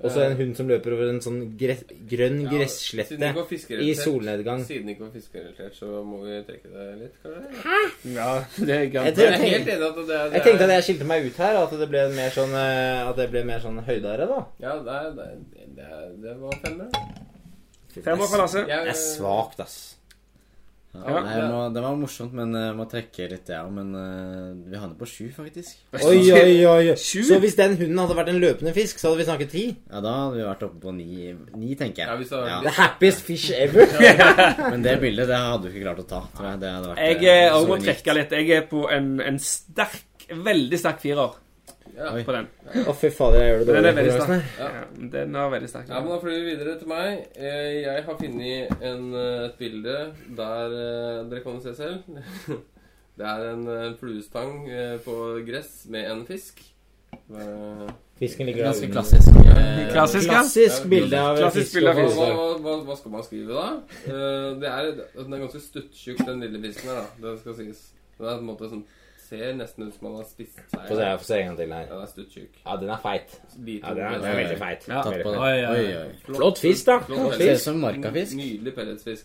Og så en hund som løper over en sånn gre grønn Ja, siden det gresslette ikke var i fiskerelatert, solnedgang. Siden det ikke var fiskerelatert, så må vi trekke det litt, kanskje? Ja, det er Jeg Jeg galt. er tenk- helt enig i at det, det Jeg tenkte at jeg skilte meg ut her, at det ble mer sånn, eh, at jeg ble mer sånn høydere, da. Ja, det, er- det, er- det, er- det var femmer. da. Fem år for Lasse. Jeg- Det er svakt, ass. Ja, Ja. nei, det, var, det var morsomt, men eh, må trekke litt, ja. Men eh, vi havner på sju, faktisk. Oi, oi, oi. oi. Sju? Så hvis den hunden hadde vært en løpende fisk, så hadde vi snakket ti? Ja, da hadde vi vært oppe på ni, ni tenker jeg. Ja, hvis det hadde vært The happiest fish ever. Men det bildet det hadde du ikke klart å ta, tror jeg. Det hadde vært Jeg eh, eh, også så må unikt. trekke litt. Jeg er på en, en sterk, veldig sterk firer Ja. Oi. på den. Å, fy fader, jeg gjør det Den dårlig. er veldig på konkurransen her. sterk. Ja, den var veldig sterk. Ja, men Da flyr vi videre til meg. Eh, Jeg har funnet en, eh, et bilde der eh, Dere kan jo se selv. Det er en eh, fluestang eh, på gress med en fisk. Eh, Fisken ligger Ganske under. klassisk. eh, Klassisk, ja. Klassisk bilde av Klassisk fisk bilde av og Hva, fisk. hva, fisk. hva- hva, hva skal man skrive, da? Eh, Det er, den er ganske stuttjukk, den lille fisken her. da Det skal sies. Den er på en måte sånn Ser nesten ut som man har spist seg. Få se, Ja, få se en gang til her. den er stuttjukk. Ja, den er feit. Liten Ja, den er, den er pellets. veldig feit. Ja. Tatt på det. Oi, oi, Oi, oi. oi. Flott fisk, da. Flott Flott Ser ut fisk. som markafisk. Nydelig pelletsfisk.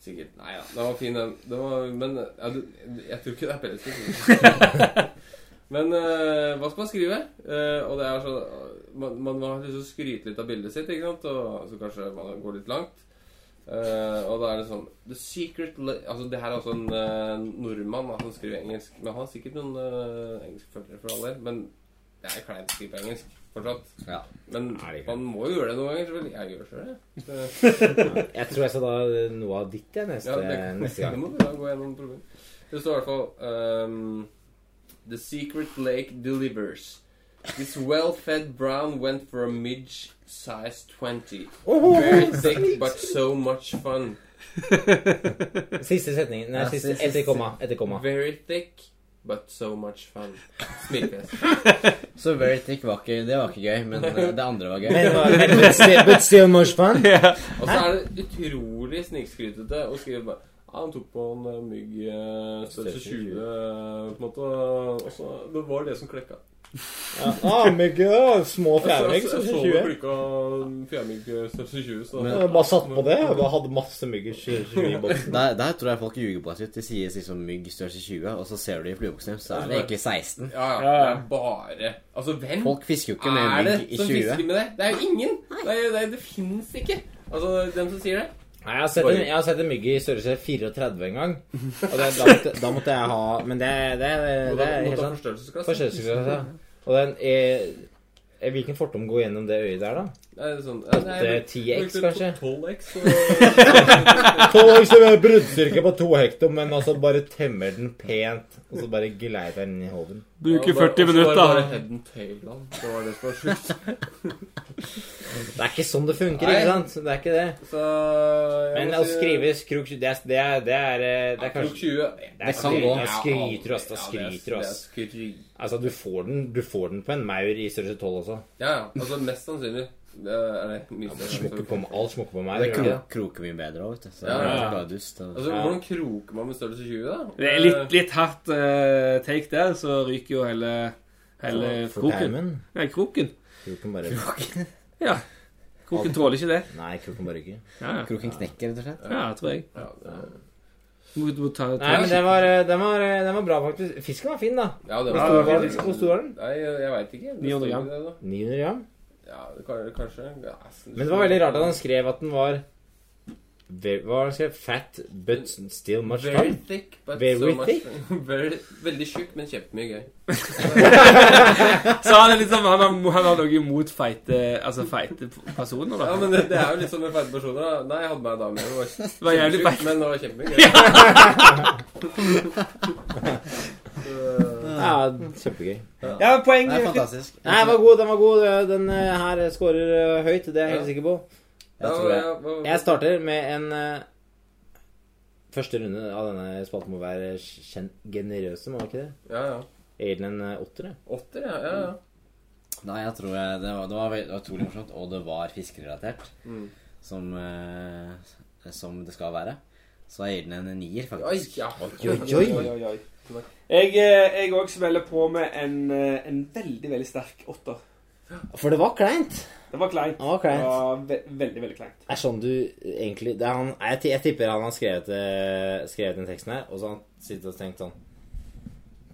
Sikkert. Nei ja, den var fin, den. den var, men ja, du, jeg tror ikke det er pelletsfisk. men eh, hva skal man skrive? Eh, og det er så Man, man har lyst til å skryte litt av bildet sitt, ikke sant? Og, så kanskje man går litt langt. Eh, og da er det sånn The secret la Altså Det her er også en eh, nordmann da, som skriver engelsk. Men han har sikkert noen eh, engelskfølgere for all del. Men det er kleint å skrive på engelsk fortsatt. Ja. Men Nei, det er ikke. man må jo gjøre det noen ganger. selvfølgelig. Jeg gjør sjøl det. Så- Jeg tror jeg skal ta noe av ditt jeg, neste, ja, det, neste gang. det må du da gå gjennom prøven. Det står i hvert fall ehm, The secret lake delivers. This well-fed brown went for a midge size 20. Very thick, but so much fun. Siste setningen. Nei, Ja, siste, siste- etter komma. Etter komma. Very thick, but so much fun. Smilefjes. Så very thick var ikke, det var ikke gøy, men eh, det andre var gøy. Men, men, but still- but still much fun. Og så er det utrolig snikskrytete å skrive bare ja, han tok på en eh, mygg eh, størrelse 20, eh, på en måte. Og så, det var det som klekka. Ja. Ah, men gud, små Jeg fjærmygg, så, så jeg så det 20. klekka fjærmygg eh, størrelse 20, så Jeg bare satt på det. Jeg bare hadde masse mygg i 20 i boksen. Der, der tror jeg folk ljuger på sitt. De sier liksom mygg størrelse 20, og så ser du i flueboksen, så er det egentlig 16. Ja, ja. Det er bare Altså, hvem Folk fisker jo ikke med er det mygg i som 20. fisker med det? Det er jo ingen! Det, er, jo- det, er- det fins ikke! Altså, dem som sier det. Nei, jeg har sett en, jeg har sett en mygg i størrelse 34 en gang. Og det, da, måtte, da måtte jeg ha Men det, det, det, Må det ta- er må helt ta sant. forstørrelsesglass. Forstørrelsesglass, ja. Og den eh, eh, Hvilken fortom går gjennom det øyet der, da? Det er sånn ja, det er- 10x, kanskje? 12x. Og, Tolv som er bruddstyrke på to hekto, men altså bare temmer den pent. Og så bare gleider den inn i hoven. og Bruker bare- Og så 40 var det bare minutter. head and tail down. Det var det som var sjukt. Det er ikke sånn det funker, Nei. ikke sant? Det er ikke det. Så jeg Men må å si- skrive skrok det, er- det, er- det er eh, Det er Krok kanskje 20 Det kan skry- gå. ja, Skryter du, ass. Da Ja, det er- skryter du, ass. det er skryt. Altså, du får den, du får den på en maur i størrelse 12 også. Ja, ja. Altså, mest sannsynlig eh, er det mye Smokker større. på meg, Alt smokker på meg. Det gjør kro det. kroker mye bedre òg, vet du. Så Ja, det ja. er bare dust. og- Altså, Ja. Hvordan kroker man med størrelse 20, da? Det er litt, litt hardt eh, take der, så ryker jo hele, hele For kroken. permen. Nei, kroken. Kroken bare Ja. Kroken tåler ikke det. Nei, kroken bare ikke. Ja, ja. Kroken knekker, rett og slett. ja tror jeg. Ja, det er- Må- må ta- ta- Nei, men den var, eh, den, var, eh, den var bra, faktisk. Fisken var fin, da. Ja, det Hvor var stor var det den? Hvor stor var den? Nei, jeg, jeg veit ikke. Det 900 står gram. ikke det, da. 900 gram. Ja, det kan- kanskje. Ja, s- Men det var veldig rart at han skrev at den var ve- Hva var det han skrev? Fat, but still much Very fun. thick, but Very so much thick? very, Veldig tjukk, men kjempemye gøy. Så han er liksom Han har, han har noe imot feite Altså feite personer, da. Ja, men det, det er jo litt sånn med feite personer. da. Nei, jeg hadde med en dame. Hun var det var jævlig kjempetjukk, feit. men hun var kjempemye gøy. Ja, Mm, kjempegøy. Ja, poeng. Det er fantastisk. Nei, den var god, den var god. Den eh, her scorer eh, høyt, det er jeg helt Ja. sikker på. Ja, tror jeg- hva- hva- Jeg starter med en eh, Første runde av denne spalten må være gen- generøse, må den ikke det? Ja, ja. Jeg gir den en eh, åtter. jeg. Åtter, ja. ja, ja. Nei, jeg tror jeg, det, var, det var veld- det var utrolig morsomt, og det var fiskerelatert. Mm. Som, eh, som det skal være. Så jeg gir den en nier, Oi, faktisk. ja. Oi, oi, oi. Jeg, eh, jeg òg smeller på med en, eh, en veldig, veldig sterk åtter. For det var kleint. Det var kleint. Det var kleint. Det var ve veldig, veldig kleint. Det er sånn du egentlig det er han, jeg, ti- jeg tipper han har skrevet, eh, skrevet den teksten her, og så har han sittet og tenkt sånn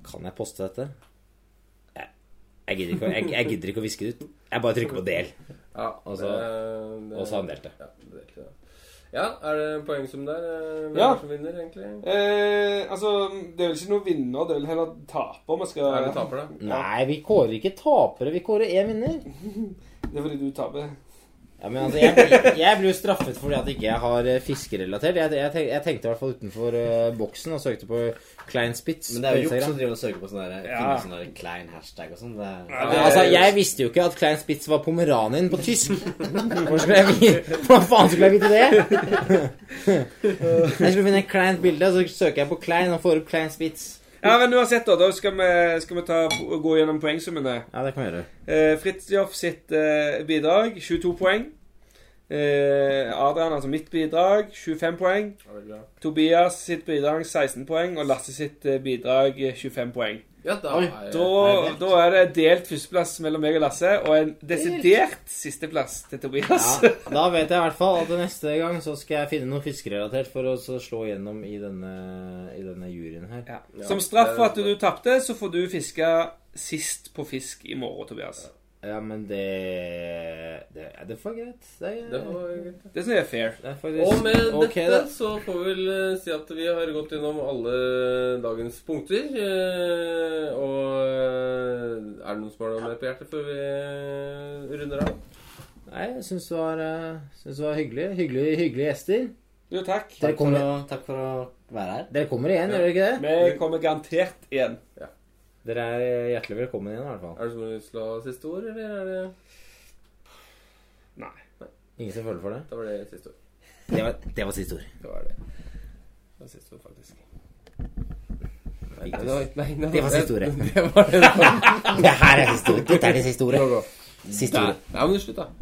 Kan jeg poste dette? Jeg, jeg, gidder, ikke, å- jeg, jeg gidder ikke å viske det ut. Jeg bare trykker på del. ja altså, Og så- det- Eh, det- Og så har han delt det. Ja, det er ikke det. Ja, er det poeng som der? eh, Hvem Ja. er det som vinner, egentlig? Eh, altså, det er vel ikke noen vinner, det er vel heller taper vi skal Er det taper, da? Nei, vi kårer ikke tapere. Vi kårer én vinner. Det er fordi du taper. Ja, men altså, jeg, jeg ble jo straffet fordi at ikke jeg har eh, fiskerelatert. Jeg, jeg, tenk, jeg tenkte i hvert fall utenfor eh, boksen og søkte på Klein Spitz. Men det er jo på Jopp Instagram. som driver og søker på sånne, der, Ja. finner sånne der klein hashtag og sånn. Det er- Ja, Ja, altså, jeg visste jo ikke at Klein Spitz var pomeranien på tysk. Hvor skulle jeg vite, Hva faen skulle jeg vite det? Jeg skulle finne et kleint bilde, så søker jeg på Klein og får opp Klein Spitz. Ja, men uansett, da, da skal vi, skal vi ta, gå gjennom poengsummene. Ja, det kan vi gjøre. Eh, Fridtjof sitt eh, bidrag 22 poeng. Eh, Adrian, altså mitt bidrag, 25 poeng. Ja, veldig bra. Tobias sitt bidrag 16 poeng, og Lasse sitt eh, bidrag eh, 25 poeng. Ja, da Oi, Eh, er Da, da er det delt førsteplass mellom meg og Lasse, og en desidert sisteplass til Tobias. Ja, da vet jeg i hvert fall at neste gang så skal jeg finne noe fiskerelatert for å så slå igjennom i denne, i denne juryen her. Ja. Som straff for at du tapte, så får du fiske sist på fisk i morgen, Tobias. Ja, men det Det, det får være greit. Det, Det var greit. Det synes jeg er fair. det er Og faktisk med Ok, dette da. så får vi vel eh, si at vi har gått gjennom alle dagens punkter. eh, Og eh, er det noen som har noe mer på hjertet før vi eh, runder av? Nei, jeg syns det var, eh, synes det var hyggelig. hyggelig. Hyggelige gjester. Jo, takk. Dere Takk for, kommer- å, takk for å være her. Dere kommer igjen, gjør dere ikke det? Vi kommer garantert igjen. Dere er hjertelig velkommen igjen, i hvert fall. Er det som har lyst til å ha siste ord, eller er det Ingen som føler for det? Da var det siste ord. Det var, det var siste ord. Det var det. Det var siste ord, faktisk. Nei, Det var, nei, nei, Det var siste ordet. Det var det. Det her er siste ord. Dette er det siste ordet. Siste Nei, ordet. men slutt, da.